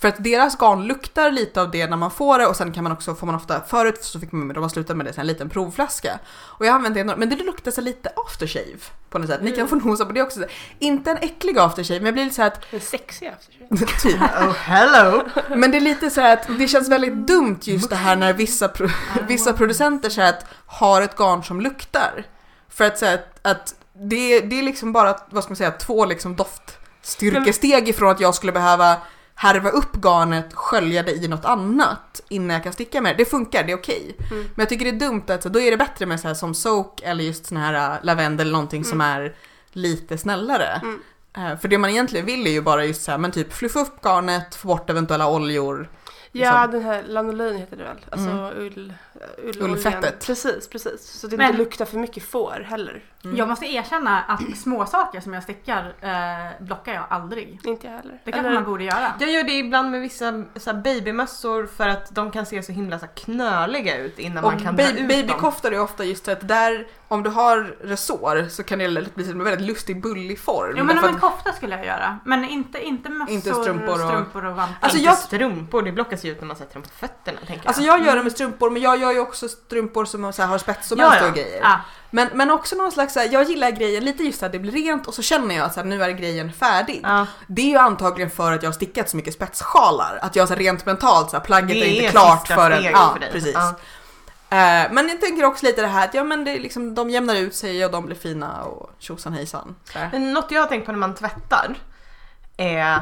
B: För att deras garn luktar lite av det när man får det och sen kan man också, får man ofta, förut så fick man, de har slutat med det, så här en liten provflaska. Och jag har använt det, enormt- men det luktar så lite aftershave på något sätt. Ni kan få nosa på det också. Inte en äcklig aftershave, men jag blir lite så
D: *laughs*
B: här
D: En sexig aftershave.
B: att, typ,
A: Oh hello!
B: men det är lite så här att det känns väldigt dumt just det här när vissa, pro vissa producenter så här att har ett garn som luktar. För att säga att, att det, är- det är liksom bara, vad ska man säga, två liksom doftstyrkesteg ifrån att jag skulle behöva härva upp garnet, skölja det i något annat innan jag kan sticka med det. Det funkar, det är okej.
D: Mm.
B: Men jag tycker det är dumt att så då är det bättre med så här som soak eller just sån här äh, lavendel eller någonting som är lite snällare.
D: Mm.
B: Äh, För det man egentligen vill är ju bara just så här, men typ fluffa upp garnet, få bort eventuella oljor.
D: Ja,
B: Liksom.
D: den här lanolin heter det väl? Alltså ull, ulloljan.
B: Mm. Ullfettet.
D: Precis, precis. Så det
C: Men-
D: inte luktar för mycket får heller.
B: Mm.
C: Jag måste erkänna att små saker som jag stickar eh, blockar jag aldrig.
D: Inte jag heller.
C: Det kanske
D: Eller-
C: man borde göra.
A: Jag gör det ibland med vissa så här, babymössor för att de kan se så himla så här, knöliga ut innan
B: Och
A: man kan dra
B: baby,
A: ut dem.
B: babykoftor är ofta just att där, om du har resår så kan det lätt bli en väldigt lustig bullig form.
C: Jo men om
B: Därför
C: en
B: att-
C: kofta skulle jag göra. Men inte, inte mössor,
B: Inte strumpor och-
C: strumpor och vantar.
B: Alltså,
A: Alltså
B: jag-
A: jag... strumpor, det blockas ju ut när man sätter dem på fötterna tänker jag.
B: Alltså jag gör det med strumpor men jag gör ju också strumpor som så här har spets och
A: Mm. Ja,
B: mönster
A: ja.
B: och grejer.
C: ah,
B: Men, men också någon slags, så här, jag gillar grejen lite just att det blir rent och så känner jag att så här, nu är grejen färdig.
A: Ja.
B: Det är ju antagligen för att jag har stickat så mycket spetssjalar. Att jag så här, rent mentalt, så här, plagget
A: Det
B: är inte
A: är
B: klart
A: sista
B: förrän...
A: steget
B: ja,
A: för dig.
B: precis.
A: Ja.
B: Eh, men jag tänker också lite det här att ja, men det är liksom, de jämnar ut sig och de blir fina och tjosan hejsan. Så här.
A: Men något jag har tänkt på när man tvättar är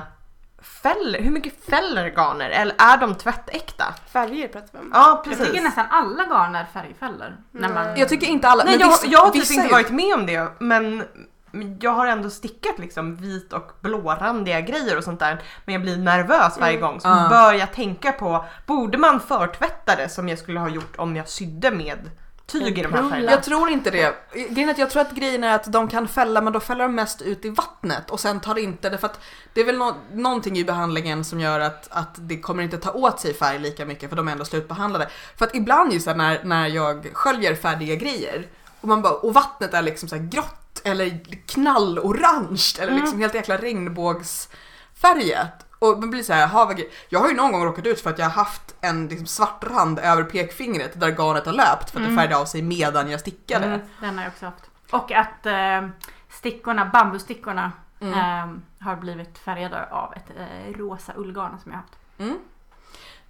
A: fäller, hur mycket fäller garner? Eller är de tvättäkta?
D: Färger pratar vi om.
A: Ja
C: Jag tycker nästan alla garner färgfäller. När man...
B: Jag tycker inte alla,
A: Nej,
B: men
A: jag,
B: vissa-
A: jag har typ
B: vissa
A: inte
B: är ju-
A: varit med om det men men jag har ändå stickat liksom vit och blårandiga grejer och sånt där. Men jag blir nervös varje gång så
B: Ah.
A: bör jag tänka på, borde man förtvätta det som jag skulle ha gjort om jag sydde med tyg i de här
D: Jag
A: färgerna?
B: Jag tror inte det. Grejen är att jag tror att grejen är att de kan fälla men då fäller de mest ut i vattnet och sen tar det inte det för att det är väl nå- någonting i behandlingen som gör att, att det kommer inte ta åt sig färg lika mycket för de är ändå slutbehandlade. För att ibland just så här, när, när jag sköljer färdiga grejer och, man bara, och vattnet är liksom så här grått eller knallorange eller liksom helt jäkla regnbågsfärgat. Och man blir så här, "Jaha, vad gre-" jag har ju någon gång råkat ut för att jag har haft en liksom svart rand över pekfingret där garnet har löpt för att det färgade av sig medan jag stickade.
C: Mm, den har jag också haft. Och att eh, stickorna, bambusstickorna
B: Mm.
C: eh, har blivit färgade av ett eh, rosa ullgarn som jag haft.
B: Mm.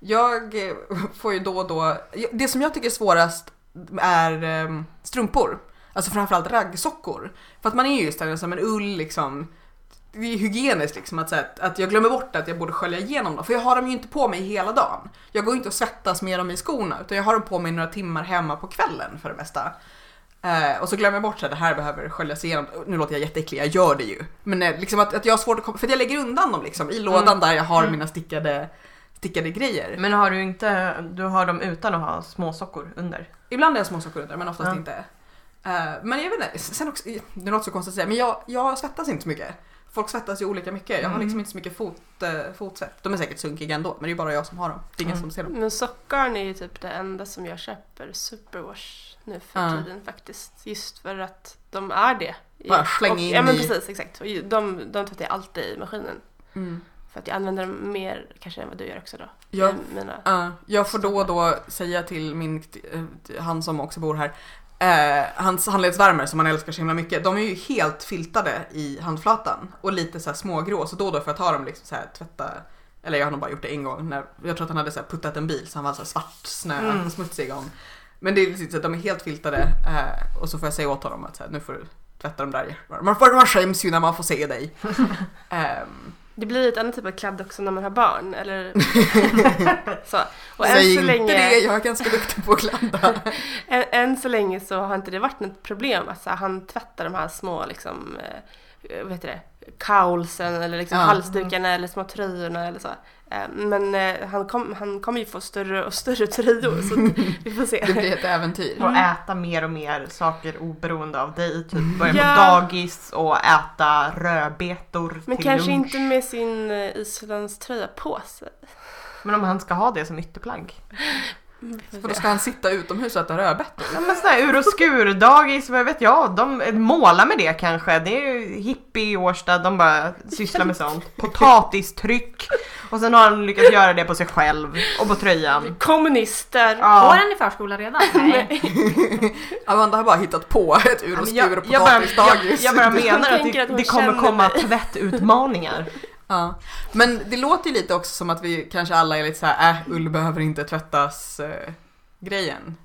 B: Jag eh, får ju då och då, det som jag tycker är svårast är eh, strumpor. Alltså framförallt raggsockor. För att man är ju just där som en ull liksom. Det är ju hygieniskt liksom att, så här, att jag glömmer bort att jag borde skölja igenom dem. För jag har dem ju inte på mig hela dagen. Jag går ju inte och svettas med dem i skorna utan jag har dem på mig några timmar hemma på kvällen för det mesta. Eh, och så glömmer jag bort att det här behöver sköljas igenom. Nu låter jag jätteäcklig, jag gör det ju. Men eh, liksom att, att jag har svårt att komma, för att jag lägger undan dem liksom i lådan där jag har mina stickade, stickade grejer.
A: Men har du inte, du har dem utan att ha småsockor under?
B: Ibland är jag småsockor under men oftast
A: Ja.
B: inte. Eh, men jag vet inte, sen också, det låter så konstigt att säga men jag, jag svettas inte så mycket. Folk svettas ju olika mycket. Jag har liksom inte så mycket fot, eh, fotsvett. De är säkert sunkiga ändå men det är ju bara jag som har dem. Det är ingen som
A: Mm.
B: ser dem.
D: Men sockgarn är ju typ det enda som jag köper superwash nu för
B: Ja.
D: tiden faktiskt. Just för att de är det.
B: Bara släng
D: Och-
B: in
D: Ja men
B: i-
D: precis, exakt. Och ju- De, de tvättar jag alltid i maskinen. För att jag använder dem mer kanske än vad du gör också då.
B: Ja.
D: I Mina...
B: Ja, jag får då och då säga till min, eh, han som också bor här, eh, hans handledsvärmare som han älskar så himla mycket, de är ju helt filtade i handflatan och lite så här smågrå så då och då får jag ta dem liksom så här tvätta, eller jag har nog bara gjort det en gång, när, jag tror att han hade så här puttat en bil så han var så här svart snö,
A: Mm.
B: smutsig gång. Men det är liksom så att de är helt filtade eh, och så får jag säga åt honom att så här, nu får du tvätta dem där. Man, får- man skäms ju när man får se dig.
D: *laughs*
B: Ehm,
D: Det blir ett annat typ av kladd också när man har
B: *laughs*
D: barn. Eller... *laughs* så. Och än
B: säg
D: så
B: inte
D: länge...
B: det, jag är ganska duktig på att
D: *laughs*
B: kladda.
D: Än, än så länge så har inte det varit något problem att så här, han tvättar de här små liksom, eh, vad heter det, kaulsen eller liksom
B: Ja.
D: halsdukarna eller små tröjorna eller så. Eh, Men eh, han kom- han kommer ju få större och större tröjor så att vi
B: *laughs*
D: får
B: Det
D: se.
B: blir ett äventyr.
D: Mm.
A: Och äta mer och mer saker oberoende av dig. Typ börja
D: Ja.
A: på dagis och äta rödbetor
D: Men
A: till
D: kanske
A: lunch.
D: inte med sin eh, islandströja på sig.
A: Men om han ska ha det som ytterplagg.
D: Vi får
B: För då
D: se.
B: ska han sitta utomhus och äta rödbetor.
A: Ja men sådär ur och skur, dagis, vad vet jag. De målar med det kanske. Det är ju hippie i Årsta, de bara sysslar med
D: *laughs*
A: sånt. Potatistryck. Och sen har han lyckats göra det på sig själv och på tröjan.
D: Kommunister!
C: Går
A: Ja.
C: den i förskola
B: *laughs*
C: redan? Nej.
B: Amanda har bara hittat på ett ur och
A: Ja, men
B: skur och
A: jag, jag, bara, jag,
B: potatisdagis.
A: jag
D: *laughs*
A: bara menar att
D: tänker
A: det,
D: att hon
A: det kommer
D: känner
A: komma
D: mig.
A: tvättutmaningar.
B: *laughs* Ja. Men det låter ju lite också som att vi kanske alla är lite så här, äh, ull behöver inte tvättas eh, grejen.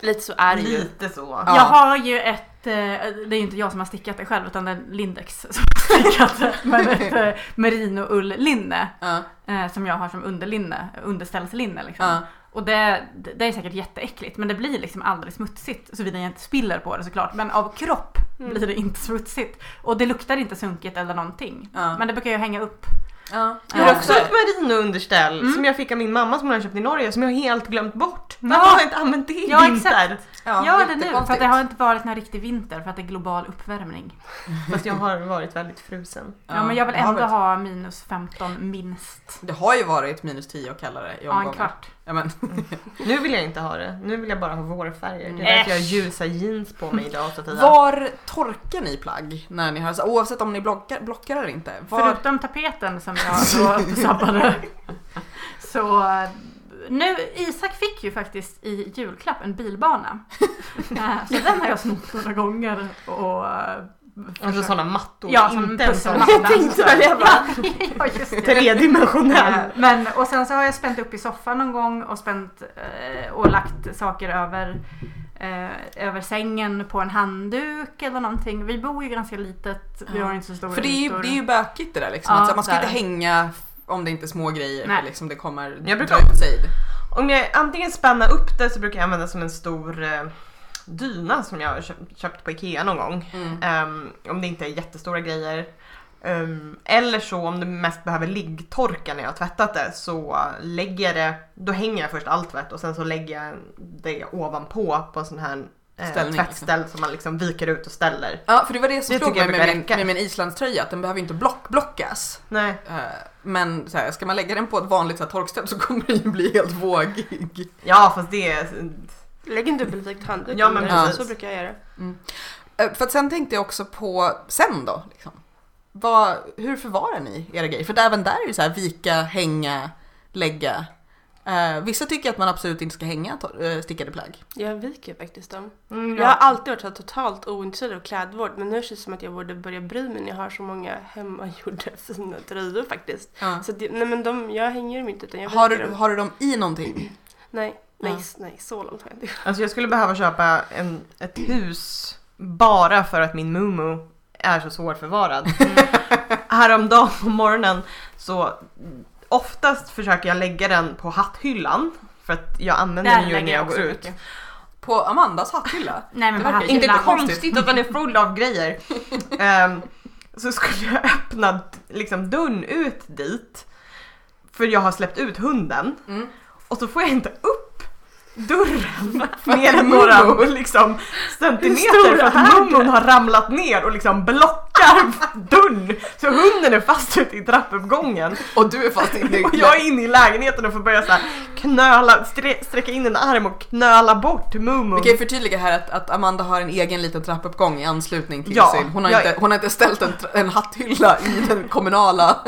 D: Lite så är det ju.
A: Lite så.
B: Ja.
C: Jag har ju ett, eh, det är ju inte jag som har stickat det själv utan det är Lindex *laughs* som har stickat det.
B: *laughs*
C: Men ett eh, merinoull-linne
B: Ja,
C: eh, som jag har som underlinne, underställslinne liksom.
B: ja.
C: Och det, det är säkert jätteäckligt men det blir liksom aldrig smutsigt såvida jag inte spiller på det såklart. Men av kropp
D: Mm.
C: blir det inte smutsigt. Och det luktar inte sunkigt eller någonting.
B: Ja.
C: Men det brukar jag hänga upp.
B: ja.
A: Jag har
C: Ja.
A: också ett merinounderställ
C: Mm.
A: som jag fick av min mamma som hon hade köpt i Norge som jag helt glömt bort.
C: Ja.
A: Varför har jag inte använt det i
C: Ja,
A: vinter?
B: Ja,
C: Gör det nu för att
B: jättekonstigt.
C: det har inte varit någon riktig vinter för att det är global uppvärmning.
A: Fast jag har varit väldigt frusen.
C: Ja, men jag vill
B: det har
C: ändå
B: varit-
C: ha minus 15 minst.
B: Det har ju varit minus 10 och kallare i
C: Ja, en
B: omgångar.
C: kvart.
B: Ja, men,
A: Nu vill jag inte ha det. Nu vill jag bara ha vårfärger. Det är
C: Äsch.
A: därför jag har ljusa jeans på mig idag Sofia.
B: var torkar ni plagg när ni har, så- oavsett om ni blockar, blockar eller inte? Var, *laughs*
C: Förutom tapeten som jag då sabbade så nu, Isak fick ju faktiskt i julklapp en bilbana.
B: *laughs*
C: Eh, så den har jag snott några gånger. Och, eh,
A: Alltså sådana mattor.
C: ja, som
A: inte en sån
C: *laughs*
A: *laughs*
C: pusselmatta.
D: Jag tänkte väl, jag bara-
C: ja, just det. Eh,
A: tredimensionell.
C: Men, och sen så har jag spänt upp i soffan någon gång och spänt eh, och lagt saker över, eh, över sängen på en handduk eller någonting. Vi bor ju ganska litet, vi
B: Ja.
C: har inte så stora
B: För det är, ju,
C: ytor.
B: det är ju bökigt det där liksom.
C: Ja,
B: att, så här, man ska
C: där.
B: inte hänga f- om det inte är små grejer
C: Nej.
B: för liksom, det kommer
A: Jag brukar-
B: dra ut sig.
A: Om jag antingen spänner upp det så brukar jag använda som en stor eh, dyna som jag har köpt, köpt på Ikea någon gång.
B: Mm.
A: Ehm, om det inte är jättestora grejer. Ehm, eller så om det mest behöver liggtorka när jag har tvättat det så lägger jag det, då hänger jag först all tvätt och sen så lägger jag det ovanpå på en sån här eh,
B: Ställning,
A: tvättställ som man liksom viker ut och ställer.
B: Ja, för det var det som
A: Det
B: slog
A: tycker
B: mig med
A: jag brukar
B: min,
A: räcka.
B: med min islandströja, att den behöver inte block, blockas.
A: Nej.
B: Eh, Men så här, ska man lägga den på ett vanligt så här, torkställ så *laughs* kommer den ju bli helt vågig.
A: Ja fast det är...
D: Lägg en dubbelvikt handduk
A: Ja, men
D: under.
B: precis.
D: Så brukar jag göra.
B: Eh, För att sen tänkte jag också på sen då. Liksom. Vad, hur förvarar ni era grejer? För där- även där är det så här vika, hänga, lägga. Eh, vissa tycker att man absolut inte ska hänga to- eh, stickade plagg.
D: Jag viker faktiskt dem.
A: Mm,
D: Jag har alltid varit så här totalt ointresserad av klädvård men nu känns det som att jag borde börja bry mig när jag har så många *laughs* hemmagjorda fina tröjor faktiskt. Så det, nej men de, jag hänger dem inte utan jag
B: Har,
D: viker
B: du,
D: dem.
B: har du dem i någonting?
D: Nej, nej,
B: Ja.
D: s- nej, så långt har jag inte
A: Alltså jag skulle behöva köpa en, ett hus bara för att min mumu är så svårförvarad.
C: Mm.
A: *laughs* Häromdagen på morgonen så oftast försöker jag lägga den på hatthyllan för att jag använder den ju
C: lägger
A: när
C: jag
A: jag går
C: också
A: ut.
C: mycket.
B: På Amandas hatthylla?
C: Nej men
B: Det
C: på
B: verkar
A: Inte
C: hatthyllan.
A: konstigt att den är full
C: *laughs*
A: av grejer. Ehm, så skulle jag öppna liksom, dörren ut dit för jag har släppt ut hunden
B: Mm.
A: och så får jag inte upp dörren mer än några liksom, centimeter
D: stor
A: för
D: är
A: att mummon har ramlat ner och liksom blockar *laughs* dörren så hunden är fast ute i trappuppgången
B: *laughs* *laughs* Och du är fast inne i
A: och jag är inne i lägenheten och får börja så här knöla, stre- sträcka in en arm och knöla bort mummon.
B: Vi kan ju förtydliga här att, att Amanda har en egen liten trappuppgång i anslutning till
A: Ja,
B: sin. Hon har,
A: jag-
B: inte, hon har inte ställt en, tra- en hatthylla i den *laughs* kommunala.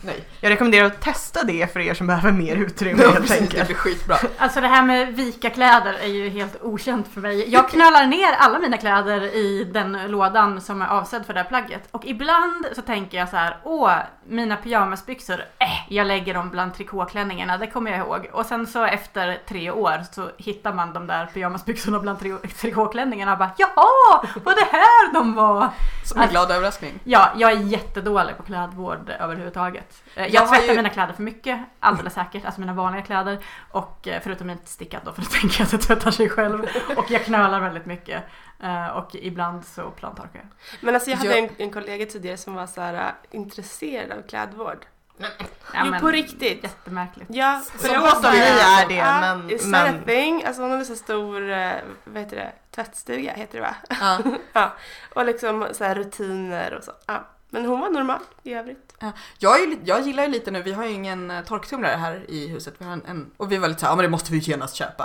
B: Nej,
A: Jag rekommenderar att testa det för er som behöver mer utrymme
B: ja,
A: helt
B: precis, det *laughs*
A: enkelt.
B: blir skitbra.
C: Alltså det här med vika kläder är ju helt okänt för mig. Jag knölar ner alla mina kläder i den lådan som är avsedd för det här plagget. Och ibland så tänker jag så här, åh, mina pyjamasbyxor, eh, jag lägger dem bland trikåklänningarna, det kommer jag ihåg. Och sen så efter tre år så hittar man de där pyjamasbyxorna bland tri- trikåklänningarna och bara, jaha, vad det här de var!
B: Som en glad överraskning.
C: Ja, jag är jättedålig på klädvård överhuvudtaget. Eh, Jag,
B: Jag
C: jag
B: har
C: tvättar
B: ju-
C: mina kläder för mycket, alldeles säkert. Alltså mina vanliga kläder. Och eh, förutom mitt stickat då, *laughs* för att tänka att jag tvättar sig själv. Och jag knölar väldigt mycket. Eh, Och ibland så plantorkar jag.
D: Men alltså jag hade
B: Jag-
D: En, en kollega tidigare som var så här äh, intresserad av klädvård.
C: Ja,
D: jo
C: men
D: på riktigt.
C: Jättemärkligt.
D: Ja,
A: Så
D: jag
A: bra
D: var
A: som
D: här, äh,
A: ni är det,
D: ja,
A: men-
D: Is that
A: men-
D: a thing? Alltså hon hade så stor, eh, vad heter det, tvättstuga heter det va?
B: Ja.
D: ja. Och liksom så här rutiner och så. Ja. Men hon var normal i övrigt.
B: Jag, är, ju li- jag gillar ju lite nu, vi har ju ingen eh, torktumlare här i huset. Vi har en, en, och vi var lite såhär, ja men det måste vi ju genast köpa.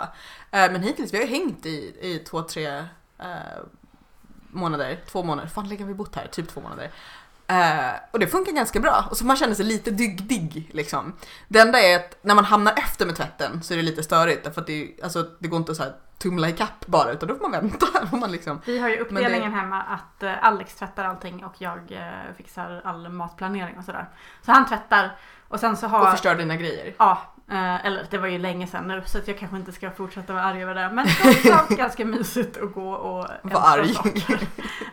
B: Eh, men hittills, vi har ju hängt i, i två, tre eh, månader, två månader, fan länge har vi bott här? Typ två månader. Eh, och det funkar ganska bra. Och så man känner sig lite dygdig liksom. Det enda är att när man hamnar efter med tvätten så är det lite störigt därför att det, är- alltså, det går inte att så här tumla ikapp bara utan då får man vänta. *laughs* Och man liksom,
C: Vi har ju
B: det-
C: uppdelningen hemma att eh, Alex tvättar allting och jag eh, fixar all matplanering och sådär. Så han tvättar och sen så har...
B: och förstör dina grejer.
C: Ja, eh, eller det var ju länge sedan nu så att jag kanske inte ska fortsätta vara arg över det. Men det är
B: *laughs*
C: också ganska mysigt att gå och älta
B: Var arg.
C: saker.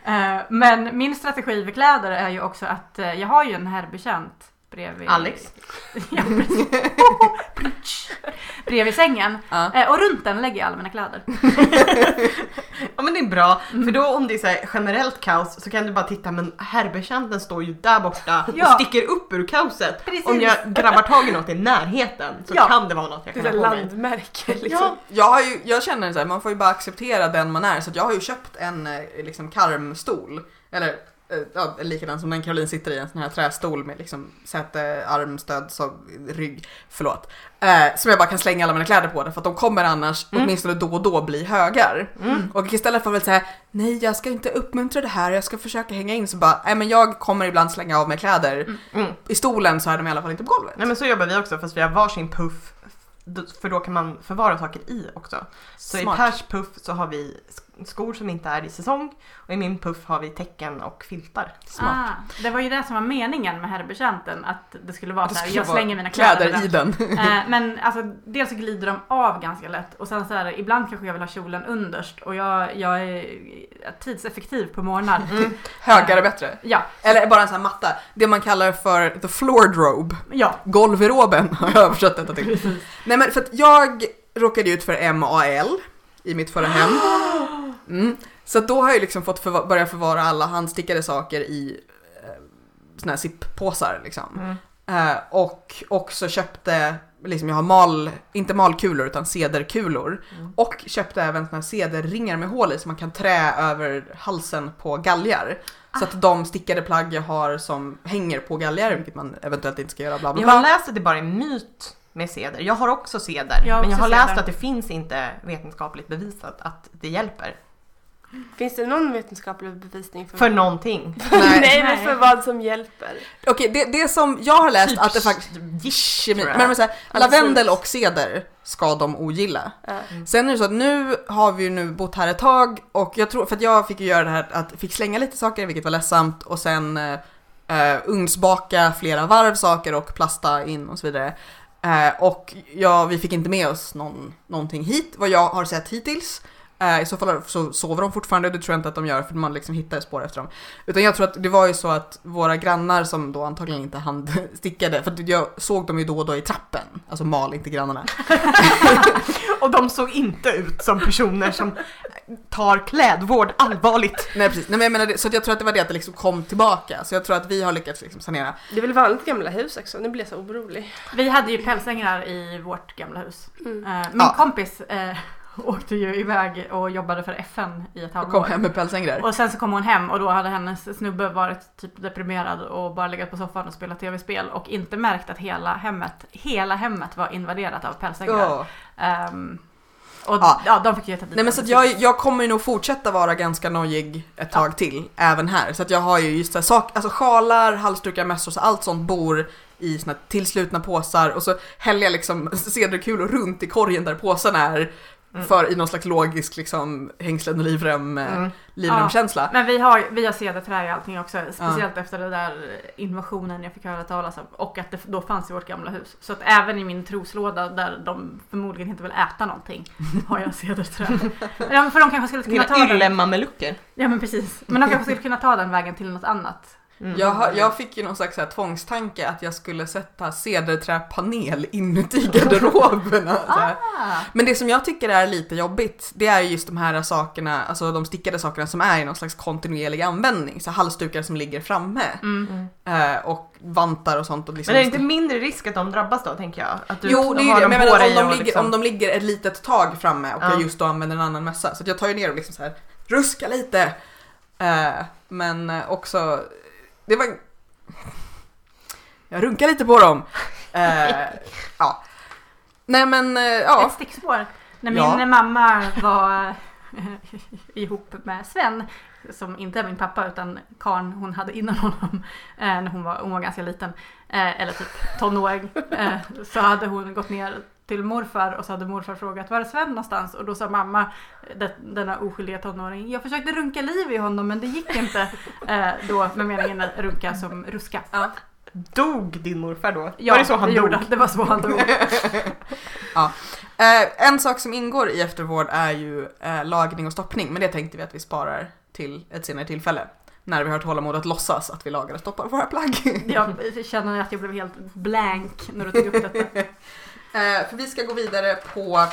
C: Eh, Men min strategi för kläder är ju också att eh, jag har ju en herrbetjänt bredvid
A: Alex.
C: *laughs* Ja, precis. bredvid sängen.
B: Ja.
C: Eh, Och runt den lägger jag alla mina kläder.
A: Ja men det är bra, för då om det är så här generellt kaos så kan du bara titta men herrbetjänten står ju där borta
C: Ja.
A: och sticker upp ur kaoset.
C: Precis.
A: Om jag grabbar tag i något i närheten så
C: Ja.
A: kan det vara något jag
D: Det
A: kan
D: är
A: ha
D: så
A: på
D: här
A: mig.
D: landmärke
C: *laughs*
D: liksom.
B: Ja, jag, har ju, jag känner så här, man får ju bara acceptera den man är. Så att jag har ju köpt en eh, liksom, karmstol. Eller eh, ja, likadan som den Caroline sitter i, en sån här trästol med liksom, säte, armstöd, så, rygg. Förlåt. Eh, som jag bara kan slänga alla mina kläder på därför att de kommer annars
A: Mm.
B: åtminstone då och då bli högar.
C: Mm.
B: Och istället för att säga nej jag ska inte uppmuntra det här, jag ska försöka hänga in så bara nej men jag kommer ibland slänga av mig kläder.
A: Mm.
B: I stolen så är de i alla fall inte på golvet.
A: Nej men så jobbar vi också fast vi har varsin puff d- för då kan man förvara saker i också. Så
B: Smart.
A: i Pers puff så har vi sk- skor som inte är i säsong och i min puff har vi tecken och filtar.
B: Smart.
C: Ah, det var ju det som var meningen med herrbetjänten. Att det skulle vara
B: Det
C: så här,
B: skulle
C: Ah, jag
B: vara
C: slänger mina kläder,
B: Kläder i den.
C: Eh, men alltså, dels så glider de av ganska lätt och sen så här, ibland kanske jag vill ha kjolen underst och jag, jag är tidseffektiv på morgnar.
B: Mm. Högare bättre.
C: Ja,
B: Eller bara en sån här matta. Det man kallar för the floor drobe.
C: ja.
B: Golvroben har jag översatt detta till. Nej men för att jag råkade ut för MAL i mitt förra hem. Mm. Så att då har jag liksom fått förva- börja förvara alla handstickade saker i eh, såna här sippåsar liksom.
A: Mm.
B: Eh, och också köpte, liksom jag har mal, inte malkulor utan sederkulor.
A: Mm.
B: Och köpte även såna här sederringar med hål i som man kan trä över halsen på galgar. Så
A: Ah.
B: att de stickade plagg jag har som hänger på galgar, vilket man eventuellt inte ska göra bla bla
A: Jag har
B: bla.
A: läst att det bara är en myt med seder. Jag har också seder,
C: Jag har
A: men jag
C: också
A: har läst
C: seder.
A: att det finns inte vetenskapligt bevisat att det hjälper.
D: Finns det någon vetenskaplig bevisning för,
A: För någonting.
B: Nej.
D: Nej, men
C: Nej.
D: för vad som hjälper?
B: Okej, det, det som jag har läst att det faktiskt...
A: gish,
B: Kemi,
A: tror
B: men
A: jag.
B: men så här,
D: Ja,
B: lavendel
D: precis.
B: och ceder ska de ogilla.
D: Ja.
B: Sen är det så att nu har vi ju nu bott här ett tag och jag tror, för att jag fick ju göra det här att fick slänga lite saker vilket var ledsamt och sen eh, eh, ugnsbaka flera varv saker och plasta in och så vidare. Eh, och ja, vi fick inte med oss någon, någonting hit vad jag har sett hittills. Eh, I så fall så sover de fortfarande, det tror jag inte att de gör för man liksom hittar spår efter dem. Utan jag tror att det var ju så att våra grannar som då antagligen inte handstickade, för att jag såg dem ju då och då i trappen, alltså mal inte grannarna.
A: *laughs* Och de såg inte ut som personer som tar klädvård allvarligt.
B: Nej precis, Nej, men jag menar, det- så att jag tror att det var det att det liksom kom tillbaka. Så jag tror att vi har lyckats liksom sanera.
D: Det är väl vanligt i gamla hus också, nu blir jag så orolig.
C: Vi hade ju pälsängar i vårt gamla hus.
D: Mm.
C: Eh, min
B: Ja.
C: kompis eh, *laughs* åkte ju iväg och jobbade för FN i ett
B: Och kom
C: halvår.
B: hem med pälsängrar.
C: Och sen så kom hon hem och då hade hennes snubbe varit typ deprimerad och bara legat på soffan och spelat tv-spel och inte märkt att hela hemmet, hela hemmet var invaderat av pälsängrar.
B: Ja.
C: Ehm, och
B: Ja.
C: ja. de fick ju ta dit
B: Nej men
C: dem.
B: så att jag, jag kommer ju nog fortsätta vara ganska nojig ett tag till, även här. Så att jag har ju just så här, sak, alltså sjalar, halsdukar, mössor, så allt sånt bor i såna här tillslutna påsar och så häller jag liksom *laughs* cederkulor runt i korgen där påsen är. För i någon slags logisk liksom hängslen och livrem, eh,
A: Mm. Mm.
B: livremkänsla.
C: Men vi har, vi har cederträ i allting också. Speciellt efter den där invasionen jag fick höra talas om. Och att det då fanns i vårt gamla hus. Så att även i min troslåda där de förmodligen inte vill äta någonting har jag cederträ. ja, men för de kanske skulle kunna ta
A: Dina
C: den.
A: yllemmamelucker.
C: Ja men precis. Men de kanske skulle kunna ta den vägen till något annat.
A: Mm.
B: Jag, har- jag fick ju någon slags så här tvångstanke att jag skulle sätta cederträpanel inuti
A: *laughs*
B: garderoberna. så här.
C: Ah.
B: Men det som jag tycker är lite jobbigt, det är just de här sakerna, alltså de stickade sakerna som är i någon slags kontinuerlig användning. Så halsdukar som ligger framme
C: Mm.
B: eh, och vantar och sånt. Och liksom
A: Men är det inte mindre risk att de drabbas då tänker jag? Att du
B: Jo, det är ju
A: typ har
B: det.
A: dem
B: Men jag
A: på
B: menar, om,
A: dig
B: de
A: och
B: ligger,
A: liksom-
B: om de ligger ett litet tag framme och
A: Ja.
B: jag just då använder en annan mössa. Så att jag tar ju ner och liksom så här, ruska lite. Eh, men eh, också, det var... Jag runkar lite på dem. Eh, ja. Nej men, eh, ja.
C: Ett stickspår. När min
B: Ja.
C: mamma var *laughs* ihop med Sven, som inte är min pappa utan karn hon hade innan honom, eh, när hon var, hon var ganska liten, eh, eller typ
A: *laughs*
C: tonåring, eh, så hade hon gått ner till morfar och så hade morfar frågat var är Sven någonstans? Och då sa mamma, det- denna oskyldiga tonåring, jag försökte runka liv i honom men det gick
A: *laughs*
C: inte. Eh, då med meningen att runka som ruska.
A: Dog din morfar då?
C: Ja,
A: var det så han
C: det
A: dog?
C: gjorde han. Det var så han
A: *laughs*
C: dog.
B: *laughs* Eh, en sak som ingår i eftervård är ju eh, lagning och stoppning, men det tänkte vi att vi sparar till ett senare tillfälle. När vi har tålamod att låtsas att vi lagar och stoppar våra plagg.
C: Jag känner att jag blev helt blank när du tog upp detta.
B: *laughs* Eh, för vi ska gå vidare på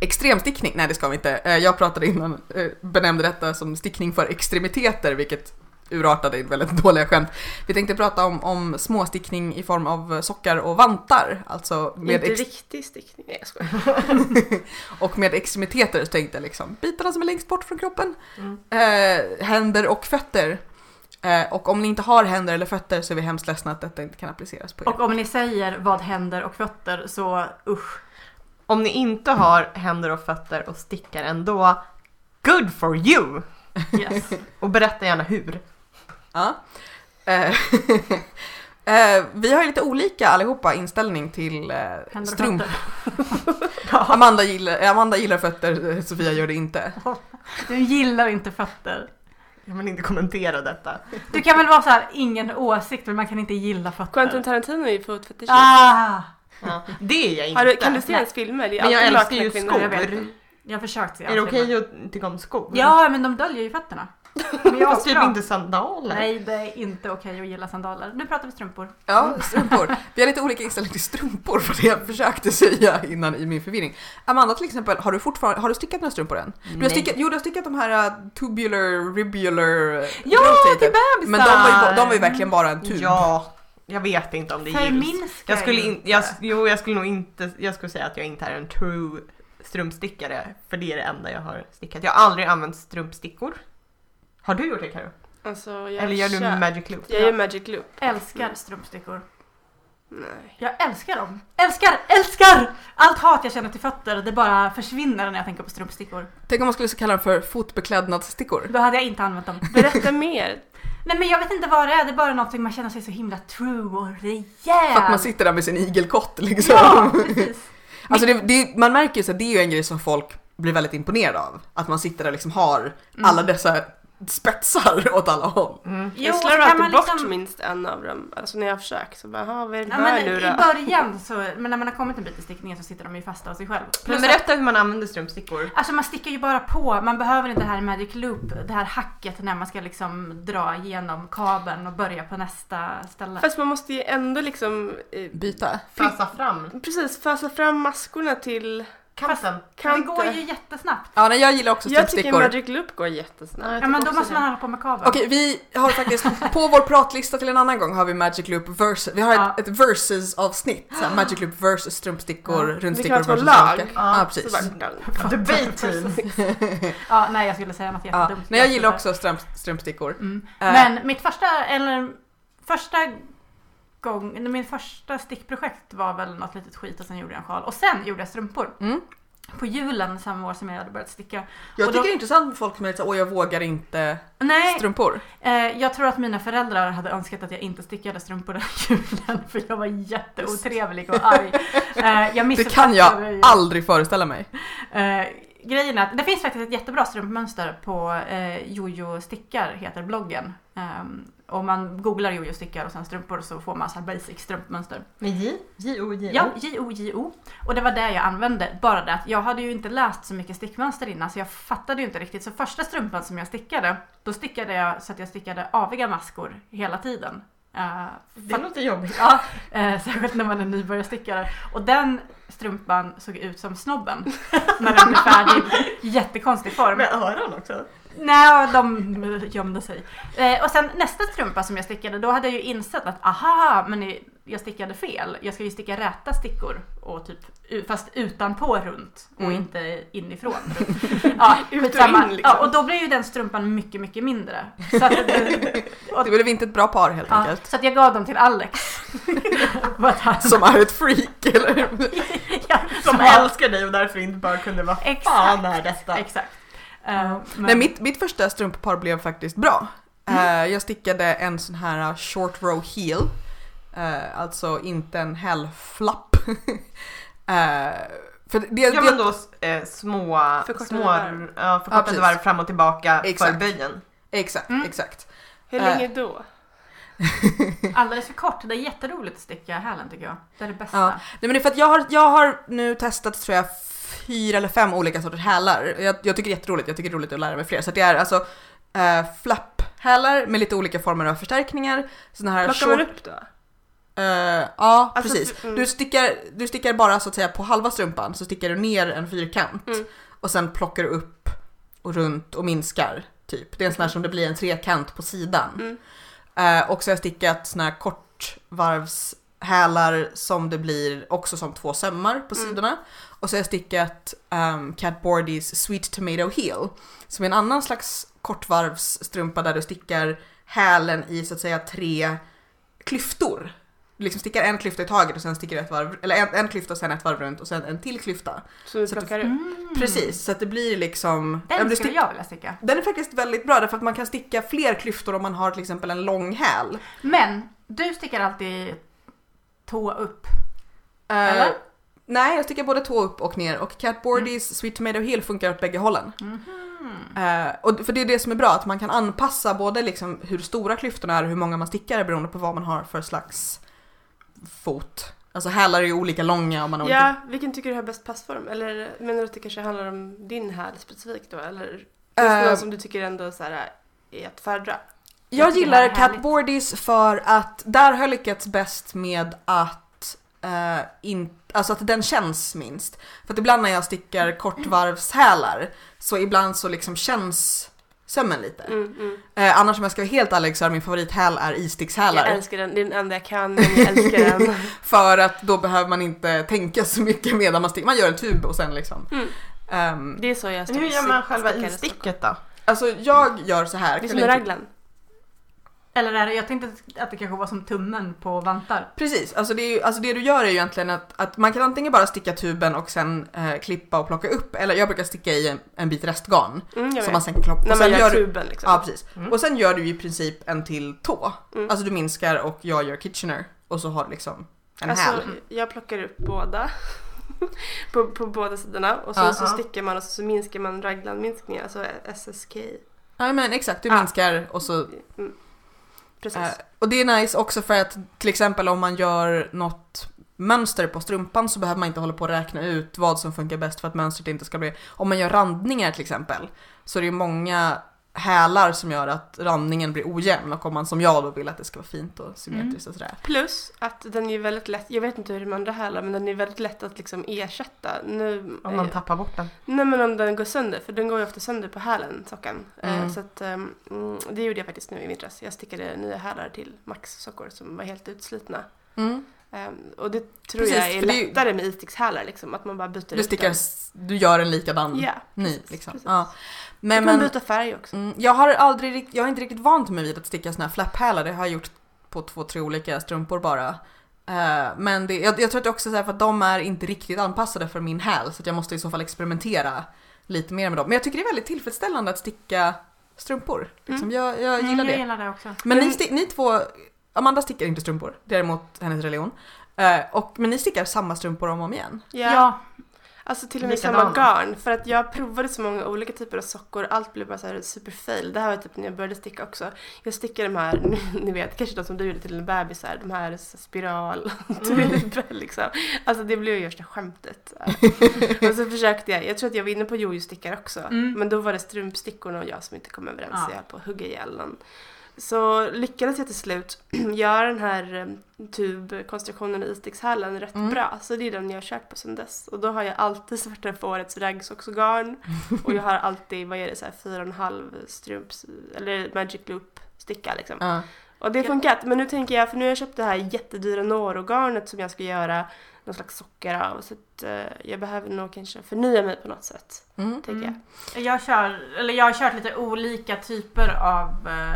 B: extremstickning. Nej, det ska vi inte. Eh, jag pratade innan, eh, benämnde detta som stickning för extremiteter, vilket urartade i väldigt *laughs* dåliga skämt. Vi tänkte prata om, om småstickning i form av sockar och vantar, alltså med
D: Inte
B: ex-
D: riktig stickning, nej jag skojar.
B: *laughs* och med extremiteter så tänkte jag liksom bitarna som är längst bort från kroppen,
A: Mm.
B: eh, händer och fötter. Eh, och om ni inte har händer eller fötter så är vi hemskt ledsna att detta inte kan appliceras på er.
C: Och om ni säger vad händer och fötter så usch.
A: Om ni inte har händer och fötter och stickar ändå, good for you!
C: Yes.
A: Och berätta gärna hur.
B: Ja. Eh, *laughs* Eh, vi har ju lite olika allihopa inställning till eh,
C: Händer och
B: strump.
C: fötter.
B: Amanda gillar, eh, Amanda gillar fötter, eh, Sofia gör det inte.
C: Du gillar inte fötter.
A: *laughs* Jag vill inte kommentera detta.
C: Du kan väl vara så här, ingen åsikt men man kan inte gilla fötter.
D: Quentin Tarantino är ju fotfetischist.
C: Ah,
A: Ja. Det är jag inte.
D: Har du- Kan du se hans filmer? Det är
A: Men jag älskar
D: alltid nakna
A: ju
D: kvinnor.
A: skor.
C: jag vet.
A: Är
C: jag har försökt se
A: det
C: allt,
A: okej
C: men-
A: att tycka om skor?
C: Ja, men de döljer ju fötterna. Men jag har
A: *laughs* Fast typ
C: bra.
A: inte sandaler.
C: Nej, det är inte okej att gilla sandaler. Nu pratar vi strumpor.
B: Ja, strumpor. Vi har lite olika inställning till strumpor för det jag försökte säga innan i min förvirring. Amanda till exempel, har du fortfarande, har du stickat några strumpor än? Du har
A: Nej.
B: stickat, jo, du har stickat de här eh, tubular, ribular, eh,
C: Ja,
B: rotated.
C: till bebisar!
B: Men de var, ju, de var ju verkligen bara en tub.
A: Ja, jag vet inte om det gills.
C: Förminskar
A: Jag skulle,
C: ju
A: in,
C: inte.
A: jag, jo, jag skulle nog inte, jag skulle säga att jag inte är en true strumpstickare. För det är det enda jag har stickat. Jag har aldrig använt strumpstickor. Har du gjort det Karo?
D: Alltså, jag
A: Eller gör du
D: kör-
A: magic loop?
D: Jag gör magic loop.
C: Älskar strumpstickor. *laughs*
D: Nej.
C: Jag älskar dem. Älskar, älskar! Allt hat jag känner till fötter, det bara försvinner när jag tänker på strumpstickor.
B: Tänk om man skulle kalla dem för fotbeklädnadsstickor.
C: Då hade jag inte använt dem.
D: Berätta mer.
C: Nej men jag vet inte vad det är, det är bara någonting man känner sig så himla true och rejäl.
B: För att man sitter där med sin igelkott liksom.
C: Ja,
B: *laughs*
C: precis.
B: Alltså det, det, man märker ju att det är ju en grej som folk blir väldigt imponerade av. Att man sitter där och liksom har
C: Mm.
B: alla dessa spetsar *laughs* åt alla håll.
A: Mm.
C: Jo,
D: jag
C: och så
D: slår
C: kan
D: alltid
C: man
D: bort
C: liksom-
D: minst en av dem. Alltså när jag har försökt så bara, "Jaha, vad är det
C: Ja,
D: här
C: men
D: nu
C: I
D: då?
C: början så, men när man har kommit en bit i stickningen så sitter de ju fasta av sig själv.
A: Men
C: Plus att,
A: berätta hur man använder strumpstickor.
C: alltså man stickar ju bara på, man behöver inte det här magic loop, det här hacket när man ska liksom dra igenom kabeln och börja på nästa ställe.
D: Fast man måste ju ändå liksom eh,
B: Byta.
A: Fasa fram
D: precis fösa fram maskorna till
A: kanten.
C: det
D: kanten.
C: går ju jättesnabbt.
B: Ja, nej, jag gillar också
D: jag tycker
B: strumpstickor.
D: magic loop går jättesnabbt.
C: Ja men då måste man hålla på med kabeln. *laughs*
B: Okej, vi har faktiskt på vår pratlista till en annan gång har vi Magic Loop versus. Vi har
C: Ja.
B: ett, ett versus avsnitt. Så här, Magic Loop versus strumpstickor, rundstickor
D: Vi kan ha två
B: versus
D: lag.
B: olika.
A: Ja,
B: Ja,
D: Så
B: precis.
D: bara, dang.
A: Debate team.
C: Ja, nej jag skulle säga något
B: Ja.
C: jättedumt.
B: Nej, jag gillar också strump, strumpstickor.
C: Mm.
B: Eh.
C: Men mitt första, eller första gång, nej, min första stickprojekt var väl något litet skit och sen gjorde jag en sjal. Och sen gjorde jag strumpor.
B: Mm.
C: På julen samma år som jag hade börjat sticka.
B: Jag
C: Och
B: tycker
C: då-
B: det är intressant med folk som är lite så, åh jag vågar inte
C: Nej,
B: strumpor.
C: eh, jag tror att mina föräldrar hade önskat att jag inte stickade strumpor den *laughs* julen för jag var jätteotrevlig och
B: *laughs*
C: arg.
B: Det
C: Eh, jag
B: kan jag
C: missuppfattade-
B: aldrig föreställa mig.
C: Eh, grejen är att det finns faktiskt ett jättebra strumpmönster på eh, Jojo stickar heter bloggen. Ehm, om man googlar Jojo stickar och sen strumpor så får man så här basic strumpmönster.
A: *laughs* Med J? J-O-J-O?
C: Ja, J-O-J-O. Och det var det jag använde. Bara det att jag hade ju inte läst så mycket stickmönster innan så jag fattade ju inte riktigt. Så första strumpan som jag stickade, då stickade jag så att jag stickade aviga maskor hela tiden. Eh,
A: Det låter jobbigt.
C: *laughs* Ja, eh, särskilt när man är nybörjarstickare. Och den strumpan såg ut som snobben när den blev färdig. Jättekonstig form.
A: Med öron också.
C: Nej, de gömde sig. Eh, och sen nästa strumpa som jag stickade, då hade jag ju insett att aha, men i- jag stickade fel. Jag ska ju sticka räta stickor och typ, u- fast utanpå runt och
B: Mm.
C: inte inifrån. ja,
D: *laughs* Ut och
C: skitsamma.
D: in, liksom.
C: ja, och då blev ju den strumpan mycket, mycket mindre. Så att,
D: *laughs*
B: Det blev inte ett bra par helt
C: ja,
B: enkelt.
C: så att jag gav dem
B: *laughs*
C: till Alex. För att han- *laughs*
B: Som är ett freak
D: *laughs*
B: eller?
C: ja,
A: Som
C: ja,
A: älskar dig och därför inte bara kunde vara
C: Exakt.
A: fan är detta?
C: Exakt. Eh, men-
B: Nej, mitt, mitt första strumppar blev faktiskt bra.
D: Mm.
B: Eh, jag stickade en sån här eh, short row heel. Eh, alltså inte en *laughs* hälflapp. uh, för det,
A: Gör man
B: det,
A: då eh, små,
D: Förkortade
A: små
D: varv.
A: ja,
B: Ja,
A: förkortade
B: precis.
A: varv fram och tillbaka
B: Exakt.
A: för böjen.
B: exakt,
C: Mm.
B: exakt.
D: Hur
B: Eh.
D: länge då?
C: Alldeles för kort. Det är jätteroligt att sticka hälen tycker jag. Det är det bästa.
B: Ja. Nej, men det är för att jag har, jag har nu testat tror jag fyra eller fem olika sorters hälar. Jag, jag tycker det är jätteroligt, jag tycker det är roligt att lära mig fler. Så att det är alltså uh, flapphälar med lite olika former av förstärkningar. Såna här
D: Plockar man upp då?
B: Eh, ja,
D: Alltså,
B: precis.
D: mm.
B: Du, stickar, du stickar bara så att säga på halva strumpan, så stickar du ner en fyrkant
D: Mm.
B: och sen plockar du upp och runt och minskar. Typ. Det är en sån här som det blir en trekant på sidan.
D: Mm.
B: Eh, och så har jag stickat såna här kortvarvshälar som det blir också som två sömmar på
D: Mm.
B: sidorna. Och så har jag stickat um, Cat Bordys Sweet Tomato Heel som är en annan slags kortvarvsstrumpa där du stickar hälen i så att säga tre klyftor. Du liksom stickar en klyfta i taget och sen stickar du ett varv, eller en, en klyfta och sen ett varv runt och sen en till klyfta.
D: Som du
B: Så att du-
D: plockar upp?
C: Mm.
B: Precis, så att det blir liksom... ja, men
C: Den
B: du
C: skulle
B: stick-
C: jag vilja sticka.
B: den är faktiskt väldigt bra därför att man kan sticka fler klyftor om man har till exempel en lång häl.
C: Men Du stickar alltid tå upp.
B: Eh,
C: Eller? Mm.
B: Nej, jag stickar både tå upp och ner och catboardies, sweet tomato heel funkar åt bägge hållen. Eh, och för det är det som är bra, att man kan anpassa både liksom hur stora klyftorna är och hur många man stickar beroende på vad man har för slags fot. Alltså hälar är ju olika långa om man har olika...
D: Ja, vilken tycker du har bäst passform? Eller menar du att det kanske handlar om din häl specifikt då? Eller finns det
B: Eh,
D: någon som du tycker ändå så här är att föredra?
B: Jag
C: tycker det här
B: gillar
C: är härligt.
B: catboardies för att där har jag lyckats bäst med att eh, in, alltså att den känns minst. För att ibland när jag stickar kortvarvshälar så ibland så liksom känns sömmen lite.
D: Mm, mm.
B: Eh, annars om jag ska vara helt ärlig så är min favorithäl är
D: Jag
B: istickshälar.
D: älskar den, det är den enda jag kan, men
B: *laughs*
D: jag älskar den.
B: För att då behöver man inte tänka så mycket medan man stickar. Man gör en tub och sen liksom.
D: Mm.
B: Ehm,
D: Det är så jag
A: Hur gör man själva
D: stickar i
A: isticket då?
B: alltså jag gör så här.
D: Det är som
B: Caroline-
D: med raglan.
C: Eller är det, jag tänkte att det kanske var som tummen på vantar.
B: Precis, alltså det, är ju, alltså det du gör är ju egentligen att, att man kan antingen bara sticka tuben och sen eh, klippa och plocka upp, eller jag brukar sticka i en, en bit restgarn
D: Mm, jag
B: som
D: vet.
B: man sen kloppar.
D: När
B: och
D: man
B: sen
D: gör,
B: du,
D: tuben liksom.
B: ja, precis.
A: Mm.
B: Och sen gör du ju i princip en till tå.
D: Mm.
B: Alltså du minskar och jag gör Kitchener och så har du liksom en
D: alltså,
B: häl.
D: jag plockar upp båda. *laughs* på, på båda sidorna. Och så,
B: Ja.
D: så stickar man och så, så minskar man raglanminskningen, alltså SSK.
B: Ja men exakt, du
D: Ja.
B: minskar och så
D: Mm. Precis.
B: Eh, och det är nice också för att till exempel om man gör något mönster på strumpan så behöver man inte hålla på och räkna ut vad som funkar bäst för att mönstret inte ska bli... Om man gör randningar till exempel så är det ju många hälar som gör att randningen blir ojämn och om man som jag då vill att det ska vara fint och symmetriskt
D: Mm.
B: och sådär.
D: Plus att den är väldigt lätt, jag vet inte hur de andra hälar, men den är väldigt lätt att liksom ersätta. Nu, eh,
A: Om man tappar bort den.
D: Nej men om den går sönder, för den går ju ofta sönder på hälen, sockan. Eh,
B: Mm.
D: Så att, ehm, mm, det gjorde jag faktiskt nu i vintras. Jag stickade nya hälar till Max sockor som var helt utslitna.
B: Mm.
D: Ehm, och det tror
B: Precis,
D: jag är
B: för det är ju-
D: lättare med itix-hälar, liksom, att man bara byter
B: Du,
D: ut
B: stickar,
D: dem.
B: s- du gör en likadan
D: Ja,
B: ny
D: precis,
B: liksom.
D: precis.
B: Ja.
D: Men,
B: Men,
D: kan man
B: men
D: byta färg också.
B: mm, jag har aldrig rikt- jag har inte riktigt vant mig vid att sticka såna här flapphälar, det har jag gjort på två, tre olika strumpor bara. Eh, men det, jag, jag tror att det också är så här för att de är inte riktigt anpassade för min häl så att jag måste i så fall experimentera lite mer med dem. Men jag tycker det är väldigt tillfredsställande att sticka strumpor. Liksom, jag, jag
C: Mm,
B: gillar
C: jag
B: det.
C: gillar det också.
B: Men ni,
D: Men-
B: sti- ni två, Amanda stickar inte strumpor, däremot hennes religion. Eh, och, men ni stickar samma strumpor om och om igen.
D: Ja.
C: Ja.
D: Alltså till och med
A: Likadana.
D: samma garn. För att jag provade så många olika typer av sockor. Allt blev bara så här superfail. Det här var typ när jag började sticka också. Jag stickar de här, *laughs* ni vet, kanske de som du gjorde till en bebis här. De här spiral, *laughs* tuber liksom. Alltså det blev ju värsta skämtet. och så försökte jag. Jag tror att jag var inne på jojo-stickar också.
C: Mm.
D: Men då var det strumpstickorna och jag som inte kom överens.
C: Ja.
D: Så jag höll på att hugga ihjäl någon. Så lyckades jag till slut *clears throat* göra den här eh, tubkonstruktionen i isdäckshällen rätt
B: Mm.
D: bra. Så det är den jag har kört på sedan dess. Och då har jag alltid *laughs* svarta på årets
B: *laughs*
D: raggsocksgarn. Och jag har alltid, vad är det, så här fyra och en halv strumps, eller magic loop sticka liksom.
B: Ja.
D: Och det har funkat. Men nu tänker jag, för nu har jag köpt det här jättedyra norogarnet som jag ska göra någon slags socker av. Så att, eh, jag behöver nog kanske förnya mig på något sätt,
B: Mm.
D: tänker jag.
C: Jag, kör, eller jag har kört lite olika typer av eh,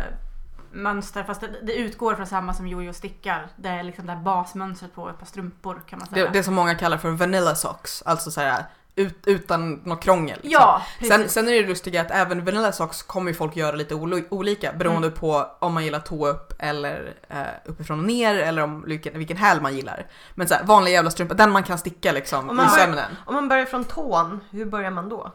C: mönster fast det, det utgår från samma som Jojo stickar. Det är liksom det här basmönstret på ett par strumpor kan man
B: Det,
C: säga.
B: det som många kallar för vanilla socks, alltså så här, ut, utan något krångel. liksom.
C: ja, precis.
B: Sen, sen är det lustiga att även Vanilla Socks kommer ju folk göra lite olo- olika beroende på om man gillar tå upp eller eh, uppifrån och ner eller om vilken, vilken häl man gillar. Men så här, vanlig jävla strumpa, den man kan sticka liksom
A: Om man
B: i
A: har-
B: sömnen.
A: Om man börjar från tån, hur börjar man då?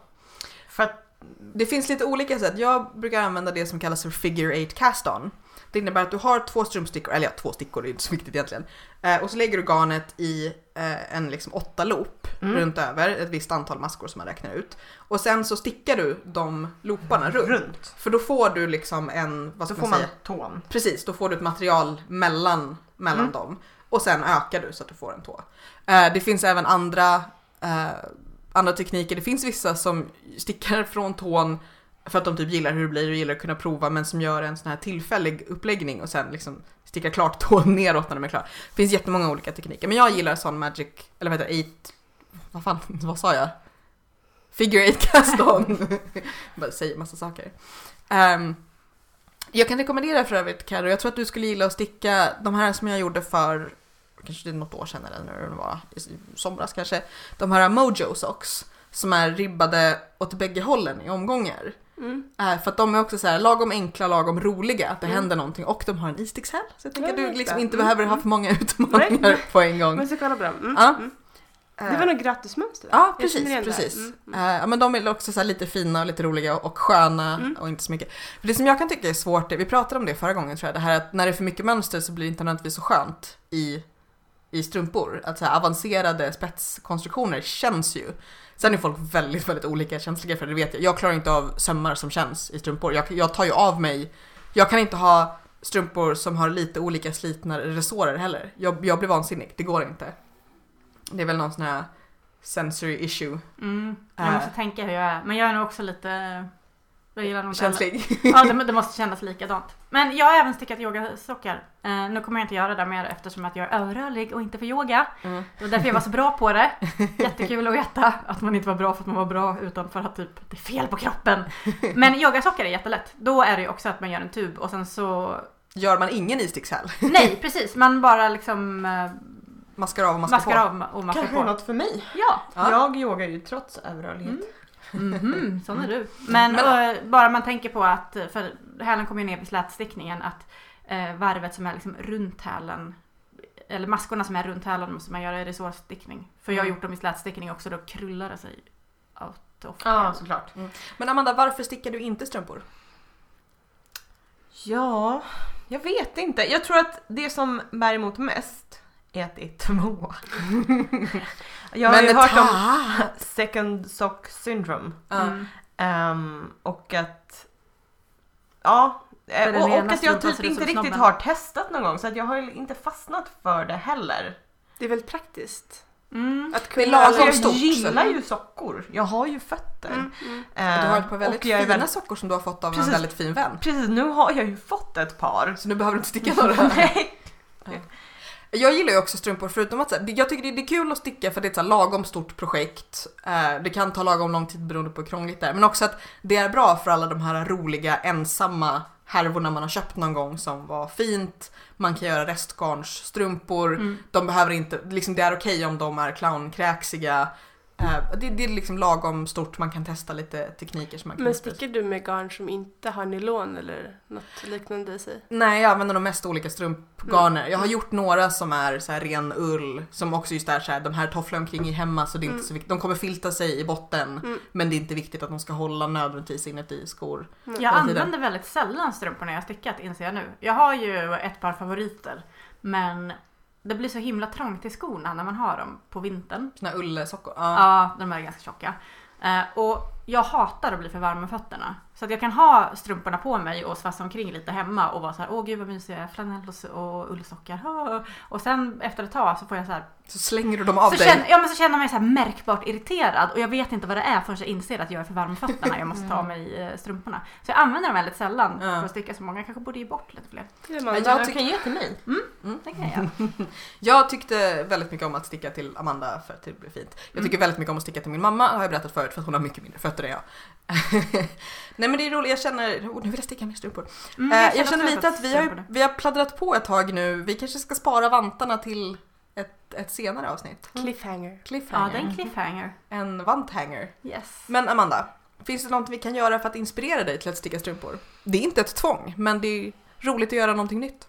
A: För att
B: Det finns lite olika sätt. Jag brukar använda det som kallas för figure eight cast on. Det innebär att du har två strumpstickor, eller ja, två stickor det är inte så viktigt egentligen. Eh, och så lägger du garnet i eh, en liksom åtta loop
A: Mm.
B: runt över, ett visst antal maskor som man räknar ut. Och sen så stickar du de looparna runt.
A: runt,
B: För då får du liksom en, vad
A: då
B: ska
A: får
B: man
A: man
B: säga?
A: tån.
B: Precis, då får du ett material mellan, mellan
A: Mm.
B: dem. Och sen ökar du så att du får en tå. Eh, det finns även andra, eh, andra tekniker. Det finns vissa som stickar *laughs* från tån för att de typ gillar hur det blir och gillar att kunna prova men som gör en sån här tillfällig uppläggning och sen liksom stickar klart *laughs* tån neråt när de är klara. Det finns jättemånga olika tekniker men jag gillar sån magic, eller vad heter det, eight, vad fan, *laughs* vad sa jag? Figure eight cast on. Bara säger massa saker. Ehm, jag kan rekommendera för övrigt Carro, jag tror att du skulle gilla att sticka de här som jag gjorde för kanske det är något år sedan eller när det var, i somras kanske. De här Mojo Socks som är ribbade åt bägge hållen i omgångar.
D: Mm.
B: Eh, För att de är också så här lagom enkla, lagom roliga, att det
D: Mm.
B: händer någonting och de har en istickshäll. Så jag tänker
D: Ja,
B: att du
D: just
B: liksom
D: det.
B: inte
D: Mm,
B: behöver ha
D: mm.
B: för många utmaningar på en gång.
D: Men så kolla på dem. Mm.
B: Ja. Eh.
D: Mm. Det var nog grattismönster.
B: Ja,
D: Jag
B: precis.
D: känner igen det här.
B: precis.
D: Mm, mm.
B: Eh, ja, men de är också så här lite fina och lite roliga och sköna
D: Mm.
B: och inte så mycket. För det som jag kan tycka är svårt, vi pratade om det förra gången tror jag, det här att när det är för mycket mönster så blir det inte nödvändigtvis så skönt i, i strumpor. Att så här, avancerade spetskonstruktioner känns ju. Sen är folk väldigt, väldigt olika känsliga för det, det vet jag. Jag klarar inte av sömmar som känns i strumpor. Jag, jag tar ju av mig, jag kan inte ha strumpor som har lite olika slitna resårer heller. Jag, jag blir vansinnig, det går inte. Det är väl någon sån här sensory issue
C: Mm. Jag måste
B: Äh.
C: tänka hur jag är. Men jag är nog också lite... eh, Jag gillar nog inte alla-
B: känslig.
C: Ja, det, det måste kännas likadant. Men jag har även stickat yogasockar. Eh, nu kommer jag inte göra det mer eftersom att jag är örörlig och inte för yoga.
B: *laughs* Mm.
C: Det var därför jag var så bra på det. Jättekul att veta att man inte var bra för att man var bra utan för att typ det är fel på kroppen. Men yogasockar är jättelätt. Då är det ju också att man gör en tub och sen så...
B: Gör man ingen istickshäll?
C: Nej, precis. Man bara liksom eh,
B: Maskar av och maskar,
C: maskar
B: på.
C: av och maskar
A: Kanske är
C: på.
A: något för mig.
C: Ja,
B: Ja.
A: Jag yogar ju trots överrörlighet.
C: Mm. Mhm, sån är du. Men,
B: Men-
C: och, bara man tänker på att, för hälen kommer ju ner vid slätstickningen, att eh, varvet som är liksom runt hälen, eller maskorna som är runt hälen måste man göra i resårstickning. För jag har
A: Mm.
C: gjort dem i slätstickning också, då krullar det sig out of
A: Ja,
C: hälen.
A: såklart.
B: Men Amanda, varför stickar du inte strumpor?
A: Ja, jag vet inte. Jag tror att det som bär emot mest är att det
B: *laughs*
A: är två. jag har
B: Men
A: ju
B: det
A: hört om
B: tar-
A: second sock syndrome.
B: Ja.
C: Mm.
A: Ehm, och att... Ja. eh,
C: För den
A: Och, och
C: ena
A: att jag
C: strumpan
A: typ
C: ser ut
A: inte
C: som
A: riktigt
C: snobben.
A: har testat någon gång så att jag har ju inte fastnat för det heller.
D: Det är väldigt praktiskt.
C: Mm.
D: Att
B: Det är
D: kunna...
B: lagom
A: Alltså, jag
B: stort, så-
A: gillar ju sockor. Jag har ju fötter.
D: Mm, mm.
A: Ehm,
B: Du har ett par väldigt
A: och jag är
B: fina
A: väldigt-
B: sockor som du har fått av en
A: Precis.
B: väldigt fin vän.
A: Precis, nu har jag ju fått ett par.
B: Så nu behöver du inte
C: *laughs*
B: sticka
A: *laughs*
B: några.
A: Nej.
B: Jag gillar ju också strumpor förutom att så här, det- jag tycker det- det är kul att sticka för det är ett så här lagom stort projekt. Eh, Det kan ta lagom lång tid beroende på hur krångligt det är. Men också att det är bra för alla de här roliga ensamma härvorna man har köpt någon gång som var fint. Man kan göra restgarnsstrumpor.
C: Mm.
B: De behöver inte, liksom det är okej om de är clownkräksiga. Eh, Det, det är liksom lagom stort, man kan testa lite tekniker som man kan
D: Men
B: utbyta.
D: stickar du med garn som inte har nylon eller något liknande i sig?
B: Nej, jag använder de mest olika strumpgarner. Jag
D: Mm.
B: har gjort några som är så här ren ull, som också just är så här, de här tofflar omkring i hemma så det är inte
D: Mm.
B: så viktigt. De kommer filta sig i botten,
D: Mm.
B: men det är inte viktigt att de ska hålla nödvändigtvis inuti skor.
D: Mm.
C: Jag
B: hela tiden.
C: använder väldigt sällan strumpor när jag har stickat inser jag nu. Jag har ju ett par favoriter men det blir så himla trångt i skorna när man har dem på vintern.
B: Såna här ullsockor. Ja.
C: Ja, de är ganska tjocka. Eh, och jag hatar att bli för varm om fötterna. Så att jag kan ha strumporna på mig och svassa omkring lite hemma och vara så här, åh gud vad mysiga flanell och, s- och ullsockar. ha." *laughs* Och sen efter ett tag så får jag så här,
B: Så slänger du dem av
C: så
B: dig.
C: känner, ja, men så känner jag mig så här märkbart irriterad och jag vet inte vad det är förrän jag inser att jag är för varm om fötterna. Jag måste ta av mig eh, strumporna. Så jag använder dem väldigt sällan
B: Mm. Ja.
C: för att sticka så många. Jag kanske borde ge bort lite fler.
D: Det är
B: Men
D: man. Mm.
B: jag
A: Jag
B: tycker-
A: kan ge till mig.
C: Det kan jag
B: *laughs*
C: göra.
B: Jag tyckte väldigt mycket om att sticka till Amanda för att det blev fint. Jag tycker väldigt mycket om att sticka till min mamma, har jag berättat förut, för att hon har mycket mindre fötter än jag. *laughs* Nej men det är roligt, jag känner, oh, nu vill jag sticka mer strumpor.
C: Mm,
B: Eh, jag,
C: också
B: känner lite att vi har, ju-
C: strumporna.
B: vi har pladdrat på ett tag nu. Vi kanske ska spara vantarna till ett, ett senare avsnitt.
D: Cliffhanger.
C: Ja,
B: Cliffhanger.
C: det är en cliffhanger.
B: En vanthanger.
C: Yes.
B: Men Amanda, finns det något vi kan göra för att inspirera dig till att sticka strumpor? Det är inte ett tvång, men det är roligt att göra någonting nytt.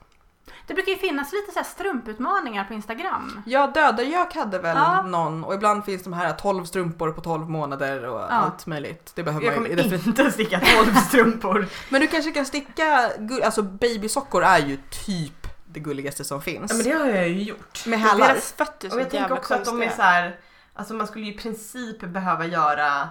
C: Det brukar ju finnas lite så här strumputmaningar på Instagram.
B: Ja, Dödergök hade väl
C: Ja.
B: någon och ibland finns de här 12 strumpor på 12 månader och allt möjligt. Det behöver
A: Jag
B: man ju
A: kommer
B: definitivt.
A: inte sticka tolv strumpor.
B: Men du kanske kan sticka, gu- alltså babysockor är ju typ det gulligaste som finns.
A: *laughs* Ja, men det har jag ju gjort.
B: Med hälar.
D: Deras fötter är så
A: Och jag tänker
D: jävla
A: också att de är så
D: konstiga.
A: här, alltså man skulle ju i princip behöva göra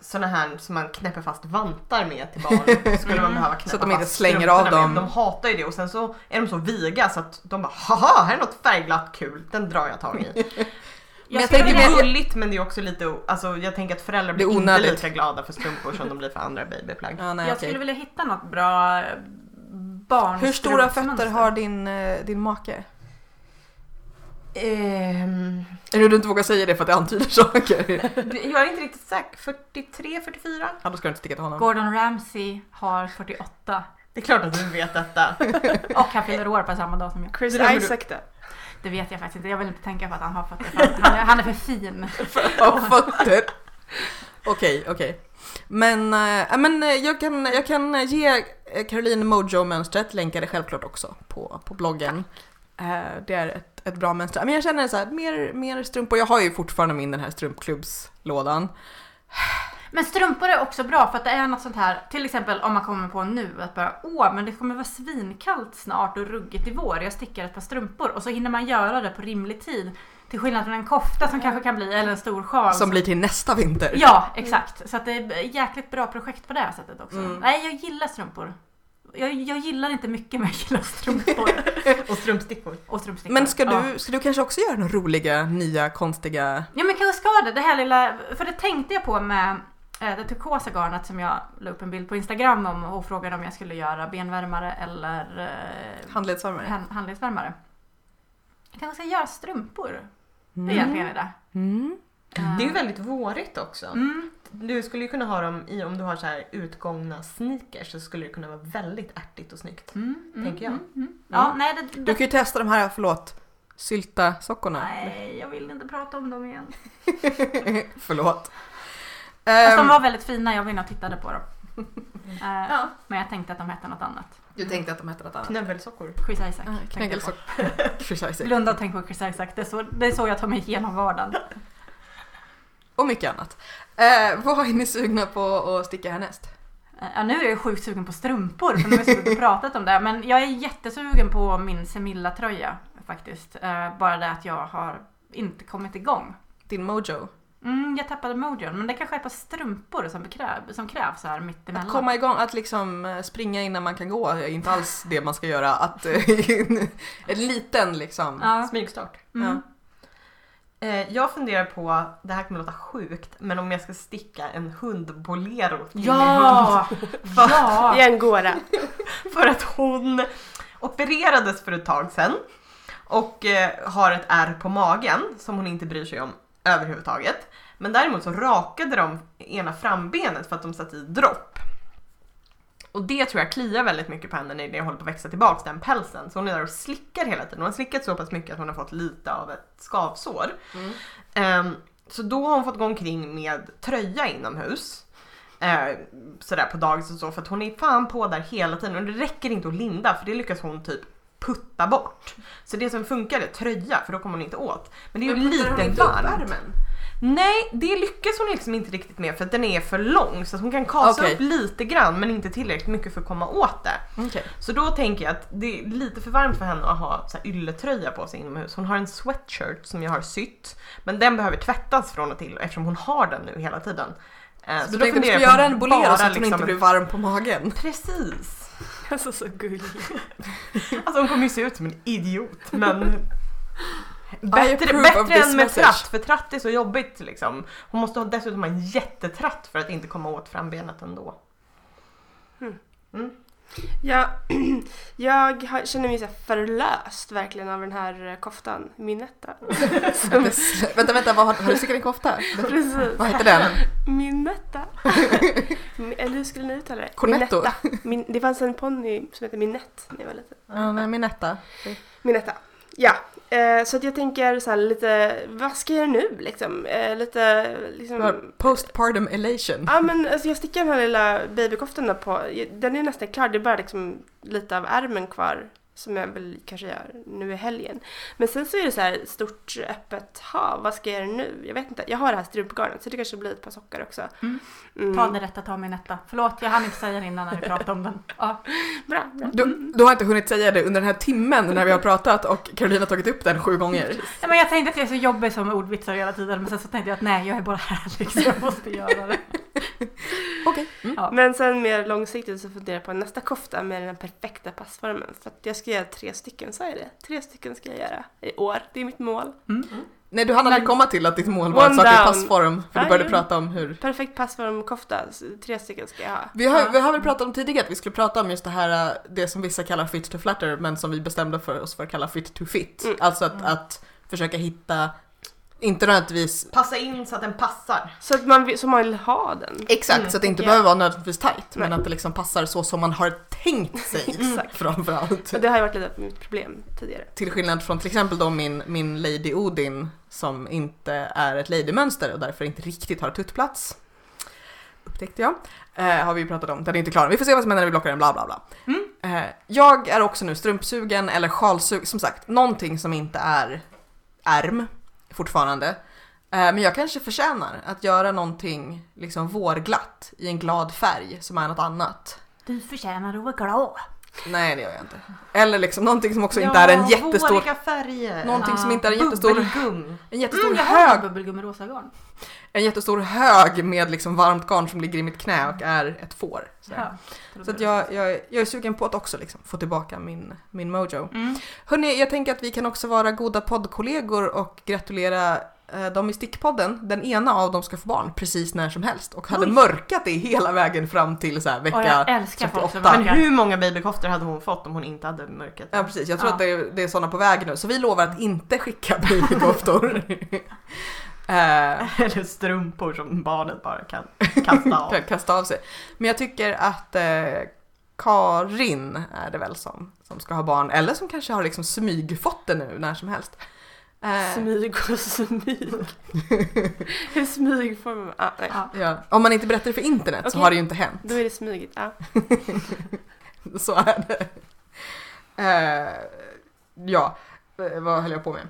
A: såna här som man knäpper fast vantar med
B: *laughs*
A: till barn. Skulle man
C: Mm.
A: behöva knäppa
B: Så att de inte
A: fast
B: slänger av
A: strumporna
B: dem.
A: Med. De hatar ju det och sen så är de så viga så att de bara haha här är något färgglatt kul, den drar
B: *laughs*
A: jag tag i.
B: Men jag
C: skulle
A: Det
B: tänker
C: vilja-
A: är gulligt men det är också lite, alltså jag tänker att föräldrar
B: Det är
A: blir inte
B: onödigt.
A: lika glada för strumpor som de blir för andra babyplagg.
B: Ja, nej,
C: Jag
B: okej.
C: skulle vilja hitta något bra eh, barn.
B: Hur stora fötter har din, eh, din make?
A: Ehm,
B: Är det du inte vågar säga det för att det antyder
A: *laughs*
B: saker?
A: jag är inte riktigt säker, 43, 44?
B: ja, då ska du inte sticka till honom.
C: Gordon Ramsay har 48
A: Det är klart att du vet detta.
C: och han fyller år på samma dag som jag.
D: Chris
A: Det där med-
D: Isaak då?
C: Det vet
B: *laughs*
C: jag faktiskt inte. Jag vill inte tänka på att han har fötter. för att Han är, han är för fin.
B: Av fötter. Okej, okej. Men, eh, ja, men eh, jag, kan, jag kan ge eh, Caroline Mojo-mönstret, länkar det självklart också på, på bloggen. Eh, det är ett, ett bra mönster. Men jag känner så här, mer, mer strumpor. Jag har ju fortfarande min den här strumpklubbslådan.
C: Men strumpor är också bra för att det är något sånt här, till exempel om man kommer på nu att bara åh men det kommer vara svinkallt snart och ruggigt i vår, jag stickar ett par strumpor och så hinner man göra det på rimlig tid. Till skillnad från en kofta som kanske kan bli, eller en stor sjal.
B: Som blir till nästa vinter.
C: Ja, exakt. Så att det är jäkligt bra projekt på det här sättet också.
B: Mm.
C: Nej, jag gillar strumpor. Jag, jag gillar inte mycket men jag
B: *laughs*
C: gillar strumpor.
A: Och strumpstickor.
C: och strumpstickor.
B: Men ska
C: Ja.
B: du, ska du kanske också göra några roliga, nya, konstiga...
C: Ja men kanske ska det. Det här lilla, för det tänkte jag på med eh, det turkosa garnet som jag la upp en bild på Instagram om och frågade om jag skulle göra benvärmare eller eh,
B: Handledsvärmare.
C: hand, handledsvärmare. Jag kanske ska göra strumpor. Det är
B: Mm.
C: egentligen det.
B: Mm.
A: Det är ju väldigt vårigt också.
C: Mm.
A: Du skulle ju kunna ha dem i, om du har så här utgångna sneakers så skulle det kunna vara väldigt ärtigt och snyggt.
C: Mm, mm,
A: Tänker jag.
C: Mm, mm. Ja,
B: Mm.
C: nej, det,
B: Du
C: det,
B: kan ju testa de här, förlåt, sylta-sockorna.
C: nej, jag vill inte prata om dem igen.
B: *laughs* förlåt.
C: Fast
B: Ehm,
C: de var väldigt fina, jag var inne och tittade på dem. Eh,
B: Ja.
C: Men jag tänkte att de hette något annat.
B: Du tänkte att de hette något annat?
A: Knövelsockor.
C: Chris Isaac.
B: Ah,
C: tänkte jag på.
B: Knägelsock. *laughs* Precis.
C: Blunda och tänk på Chris Isaac, det är så, det är så jag tar mig igenom vardagen.
B: Och mycket annat. Eh, vad är ni sugna på att sticka härnäst?
C: Ja, nu är jag sjukt sugen på strumpor, för nu har vi suttit och pratat om det. Men jag är jättesugen på min Semilla-tröja faktiskt. Eh, bara det att jag har inte kommit igång.
B: Din mojo?
C: Mm, jag tappade mojon, men det kanske är på strumpor som, bekrä- som krävs så här mitt emellan.
B: Att komma igång, att liksom eh, springa innan man kan gå är inte alls det man ska göra. Att, eh, *laughs* en liten liksom.
C: Ja.
A: Smygstart.
C: Mm.
A: Eh, jag funderar på, det här kommer låta sjukt, men om jag ska sticka en hundbolero till
C: *laughs*
A: min hund.
C: Ja!
D: I
C: ja!
D: *laughs* angora.
A: För att hon opererades för ett tag sedan och eh, har ett ärr på magen som hon inte bryr sig om överhuvudtaget. Men däremot så rakade de ena frambenet för att de satte i dropp. Och det tror jag kliar väldigt mycket på henne när det håller på att växa tillbaks den pälsen. Så hon är där och slickar hela tiden. Hon har slickat så pass mycket att hon har fått lite av ett skavsår.
B: Mm.
A: Ehm, så då har hon fått gå omkring med tröja inomhus. Eh, sådär på dagis och så för att hon är fan på där hela tiden och det räcker inte att linda för det lyckas hon typ putta bort. Så det som funkar är tröja för då kommer hon inte åt. Men det är ju lite varmt. Nej, det lyckas hon liksom inte riktigt med för att den är för lång så att hon kan kasa
B: Okej.
A: upp lite grann men inte tillräckligt mycket för att komma åt det.
B: Okej.
A: Så då tänker jag att det är lite för varmt för henne att ha så här ylletröja på sig inomhus. Hon har en sweatshirt som jag har sytt, men den behöver tvättas från och till eftersom hon har den nu hela tiden. Eh,
B: Så, du tänkte att du skulle
A: funderar jag på
B: göra en bolero
A: bara
B: så att hon
A: liksom
B: inte
A: en-
B: blir varm på *laughs* magen. *laughs*
A: Precis!
D: Alltså så gullig.
A: *laughs* Alltså hon kommer ju se ut som en idiot, men...
B: *laughs* I
A: Bättre,
B: approve of
A: bättre
B: this
A: än med
B: message.
A: tratt, för tratt är så jobbigt liksom. Hon måste ha dessutom ha en jättetratt för att inte komma åt frambenet ändå.
D: Jag, *clears throat* jag har, känner mig så här förlöst verkligen av den här eh, koftan, *laughs* Minetta. Som,
B: Mm. vänta, vänta, vad har, har du stickat en kofta?
D: precis.
B: Vad heter den?
D: *laughs* Minetta. Mi- Eller hur skulle ni uttala det?
B: Cornetto?
D: Minetta. Min, det fanns en ponny som hette Minett när jag var liten.
B: Ja, nej, min etta.
D: Minetta. Ja, eh, så att jag tänker så här lite, vad ska jag göra nu liksom? Eh, lite
B: Det var
D: liksom...
B: Postpartum elation.
D: Ja men alltså jag stickar den här lilla babykoftan där på, den är nästan klar, det är bara liksom lite av ärmen kvar som jag väl kanske gör nu i helgen. Men sen så är det så här stort öppet hav, vad ska jag göra nu? Jag vet inte, jag har det här strumpgarnet så det kanske blir ett par sockor också.
C: Mm.
D: Mm.
C: Ta den rätta, ta min etta. Förlåt, jag hann inte säga det innan när vi pratade om den. Ja.
D: Bra, bra. Mm.
B: Du, du har inte hunnit säga det under den här timmen när vi har pratat och Caroline har tagit upp den sju gånger.
C: Ja, men jag tänkte att jag är så jobbig som ordvitsar hela tiden, men sen så tänkte jag att nej, jag är bara här liksom. Jag måste göra det.
B: Okej. Mm.
D: Men sen mer långsiktigt så funderar jag på nästa kofta med den perfekta passformen. För att jag ska göra tre stycken, sa jag det? Tre stycken ska jag göra i år, det är mitt mål.
B: Nej, du hann aldrig komma till att ditt mål var att
D: One
B: saker i
D: down.
B: passform. För du
D: Nej.
B: började prata om hur
D: Perfekt passformkofta, så tre stycken ska jag ha.
B: Vi har, vi har väl pratat om tidigare att vi skulle prata om just det här, eh, det som vissa kallar fit to flatter, men som vi bestämde för oss för att kalla fit to fit.
D: Mm.
B: Alltså att, att försöka hitta, inte nödvändigtvis
A: Passa in så att den passar.
D: Så att man, vill- så man vill ha den.
B: Exakt,
A: Mm,
B: så att det inte
D: ja.
B: behöver vara nödvändigtvis tight, men
D: Nej.
B: att det liksom passar så som man har tänkt sig
D: *laughs* Exakt.
B: framförallt.
D: Och det har ju varit lite mitt problem tidigare.
B: Till skillnad från till exempel då min, min Lady Odin som inte är ett ladymönster och därför inte riktigt har tuttplats. upptäckte jag. Eh, har vi ju pratat om, den är inte klar. Vi får se vad som händer när vi blockar den, bla bla bla.
C: Mm.
B: Eh, jag är också nu strumpsugen eller sjalsugen, som sagt, någonting som inte är ärm fortfarande. Eh, men jag kanske förtjänar att göra någonting liksom vårglatt i en glad färg som är något annat.
C: Du förtjänar att vara glad.
B: Nej, det gör jag inte. Eller liksom någonting som också inte är en jättestor,
A: Våriga färger.
B: någonting som
C: Ja,
B: inte är en jättestor,
A: Bubbelgum.
B: en jättestor
C: Mm, jag har
B: hög
C: bubbelgum med rosa garn.
B: en jättestor hög med liksom varmt garn som ligger i mitt knä och är ett får. Så, här.
C: Ja,
B: så att jag, jag, jag är sugen på att också liksom få tillbaka min, min mojo.
C: Mm.
B: Hörni, jag tänker att vi kan också vara goda poddkollegor och gratulera eh, dem i Stickpodden. Den ena av dem ska få barn precis när som helst och hade
C: Oj.
B: mörkat det hela vägen fram till så här
C: Och jag
B: vecka...
C: älskar folk som
B: 38.
A: Men
C: verkar.
A: hur många babykoftor hade hon fått om hon inte hade mörkat?
B: Ja precis, jag tror
C: Ja.
B: att det är, det är sådana på väg nu. Så vi lovar att inte skicka *laughs* babykoftor.
C: *laughs*
B: eh,
A: *laughs* Eller strumpor som barnet bara kan
B: *laughs*
A: kasta av.
B: kan kasta av sig. Men jag tycker att eh, Karin är det väl som, som ska ha barn, eller som kanske har liksom smygfått det nu när som helst. Eh,
D: Smyg och smyg. Hur smygformar man? Ah, nej.
C: Ja.
B: ja. Om man inte berättar det för internet så
D: Okej.
B: har det ju inte hänt.
D: Då är det smygigt. Ah.
B: *laughs* Så är det. Eh, ja, eh, vad höll jag på med?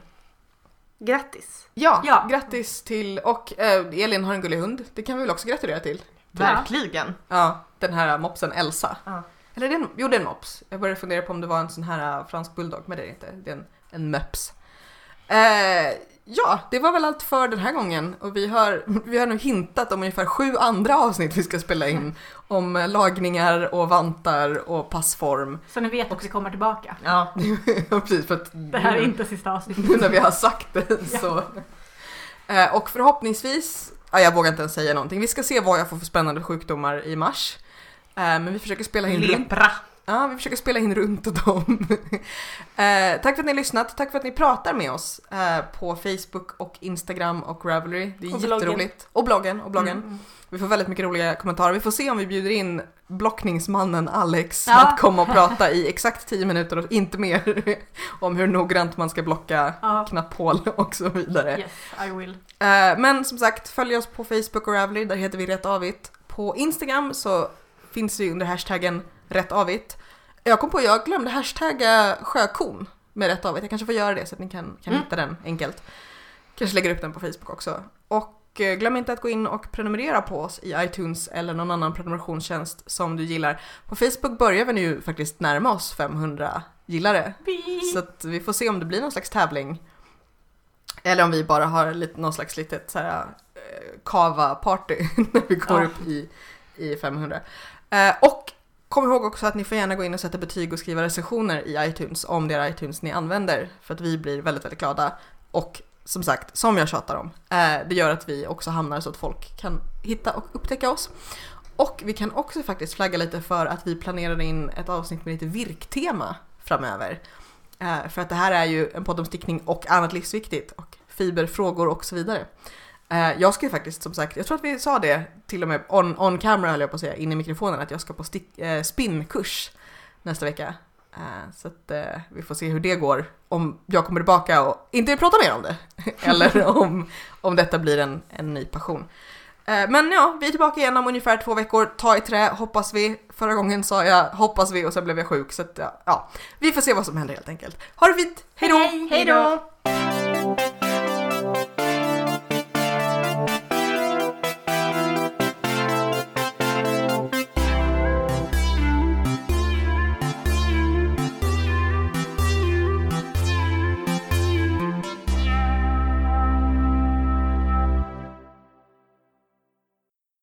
D: Grattis!
B: Ja,
C: Ja.
B: grattis till, och eh, Elin har en gullig hund, det kan vi väl också gratulera till?
A: Verkligen.
B: Ja, den här mopsen Elsa.
A: Ja.
B: Eller det är en, jo, det är en mops. Jag började fundera på om det var en sån här äh, fransk bulldog, men det är det inte. Det är en, en möps. Eh, ja, det var väl allt för den här gången. Och vi har, *laughs* vi har nu hintat om ungefär sju andra avsnitt vi ska spela in. Om eh, lagningar och vantar och passform. *laughs*
C: Så ni vet att vi kommer tillbaka.
A: Ja.
B: Ja, Precis, för att
C: Det här är inte sista
B: *laughs*
C: avsnittet.
B: nu när vi har sagt det så. Eh, och förhoppningsvis, ja, jag vågar inte ens säga någonting. Vi ska se vad jag får för spännande sjukdomar i mars. Eh, men vi försöker spela in runt
A: Lepra.
B: Ja, vi försöker spela in runt dem. *laughs* eh, tack för att ni har lyssnat, tack för att ni pratar med oss eh, på Facebook och Instagram och Ravelry. Det är
D: Och bloggen.
B: jätteroligt. Och bloggen. Och bloggen.
A: Mm.
B: Vi får väldigt mycket roliga kommentarer. Vi får se om vi bjuder in blockningsmannen Alex
C: Ja.
B: att komma och prata i exakt 10 minuter och inte mer *laughs* om hur noggrant man ska blocka
C: Ja.
B: knapphål *laughs* och så vidare.
C: Yes, I will.
B: Eh, Men som sagt, följ oss på Facebook och Ravelry, där heter vi Rätt Avigt. På Instagram så finns vi under hashtaggen Rätt Avigt. Jag kom på, jag glömde hashtagga sjökon med Rätt Avigt. Jag kanske får göra det så att ni kan, kan
A: Mm.
B: hitta den enkelt. Kanske lägger upp den på Facebook också. Och eh, glöm inte att gå in och prenumerera på oss i iTunes eller någon annan prenumerationstjänst som du gillar. På Facebook börjar vi nu faktiskt närma oss 500 gillare. Så att vi får se om det blir någon slags tävling. Eller om vi bara har lite, någon slags litet så här, eh, kava-party *laughs* när vi går
C: Ja.
B: upp i, i 500. Eh, och kom ihåg också att ni får gärna gå in och sätta betyg och skriva recensioner i iTunes om det är iTunes ni använder. För att vi blir väldigt, väldigt glada. Och som sagt, som jag tjatar om, eh, det gör att vi också hamnar så att folk kan hitta och upptäcka oss. Och vi kan också faktiskt flagga lite för att vi planerar in ett avsnitt med lite virktema framöver. Eh, för att det här är ju en podd om stickning och annat livsviktigt och fiberfrågor och så vidare. Eh, jag ska ju faktiskt som sagt, jag tror att vi sa det till och med on, on camera höll jag på att säga, in i mikrofonen, att jag ska på stick, eh, spinnkurs nästa vecka. Eh, så att eh, vi får se hur det går, om jag kommer tillbaka och inte vill prata mer om det. *laughs* Eller om, om detta blir en, en ny passion. Eh, Men ja, vi är tillbaka igen om ungefär två veckor. Ta i trä, hoppas vi. Förra gången sa jag hoppas vi och sen blev jag sjuk. Så att, ja, ja, vi får se vad som händer helt enkelt. Ha det fint, hej då!
C: Hej, hej då!
A: Hejdå!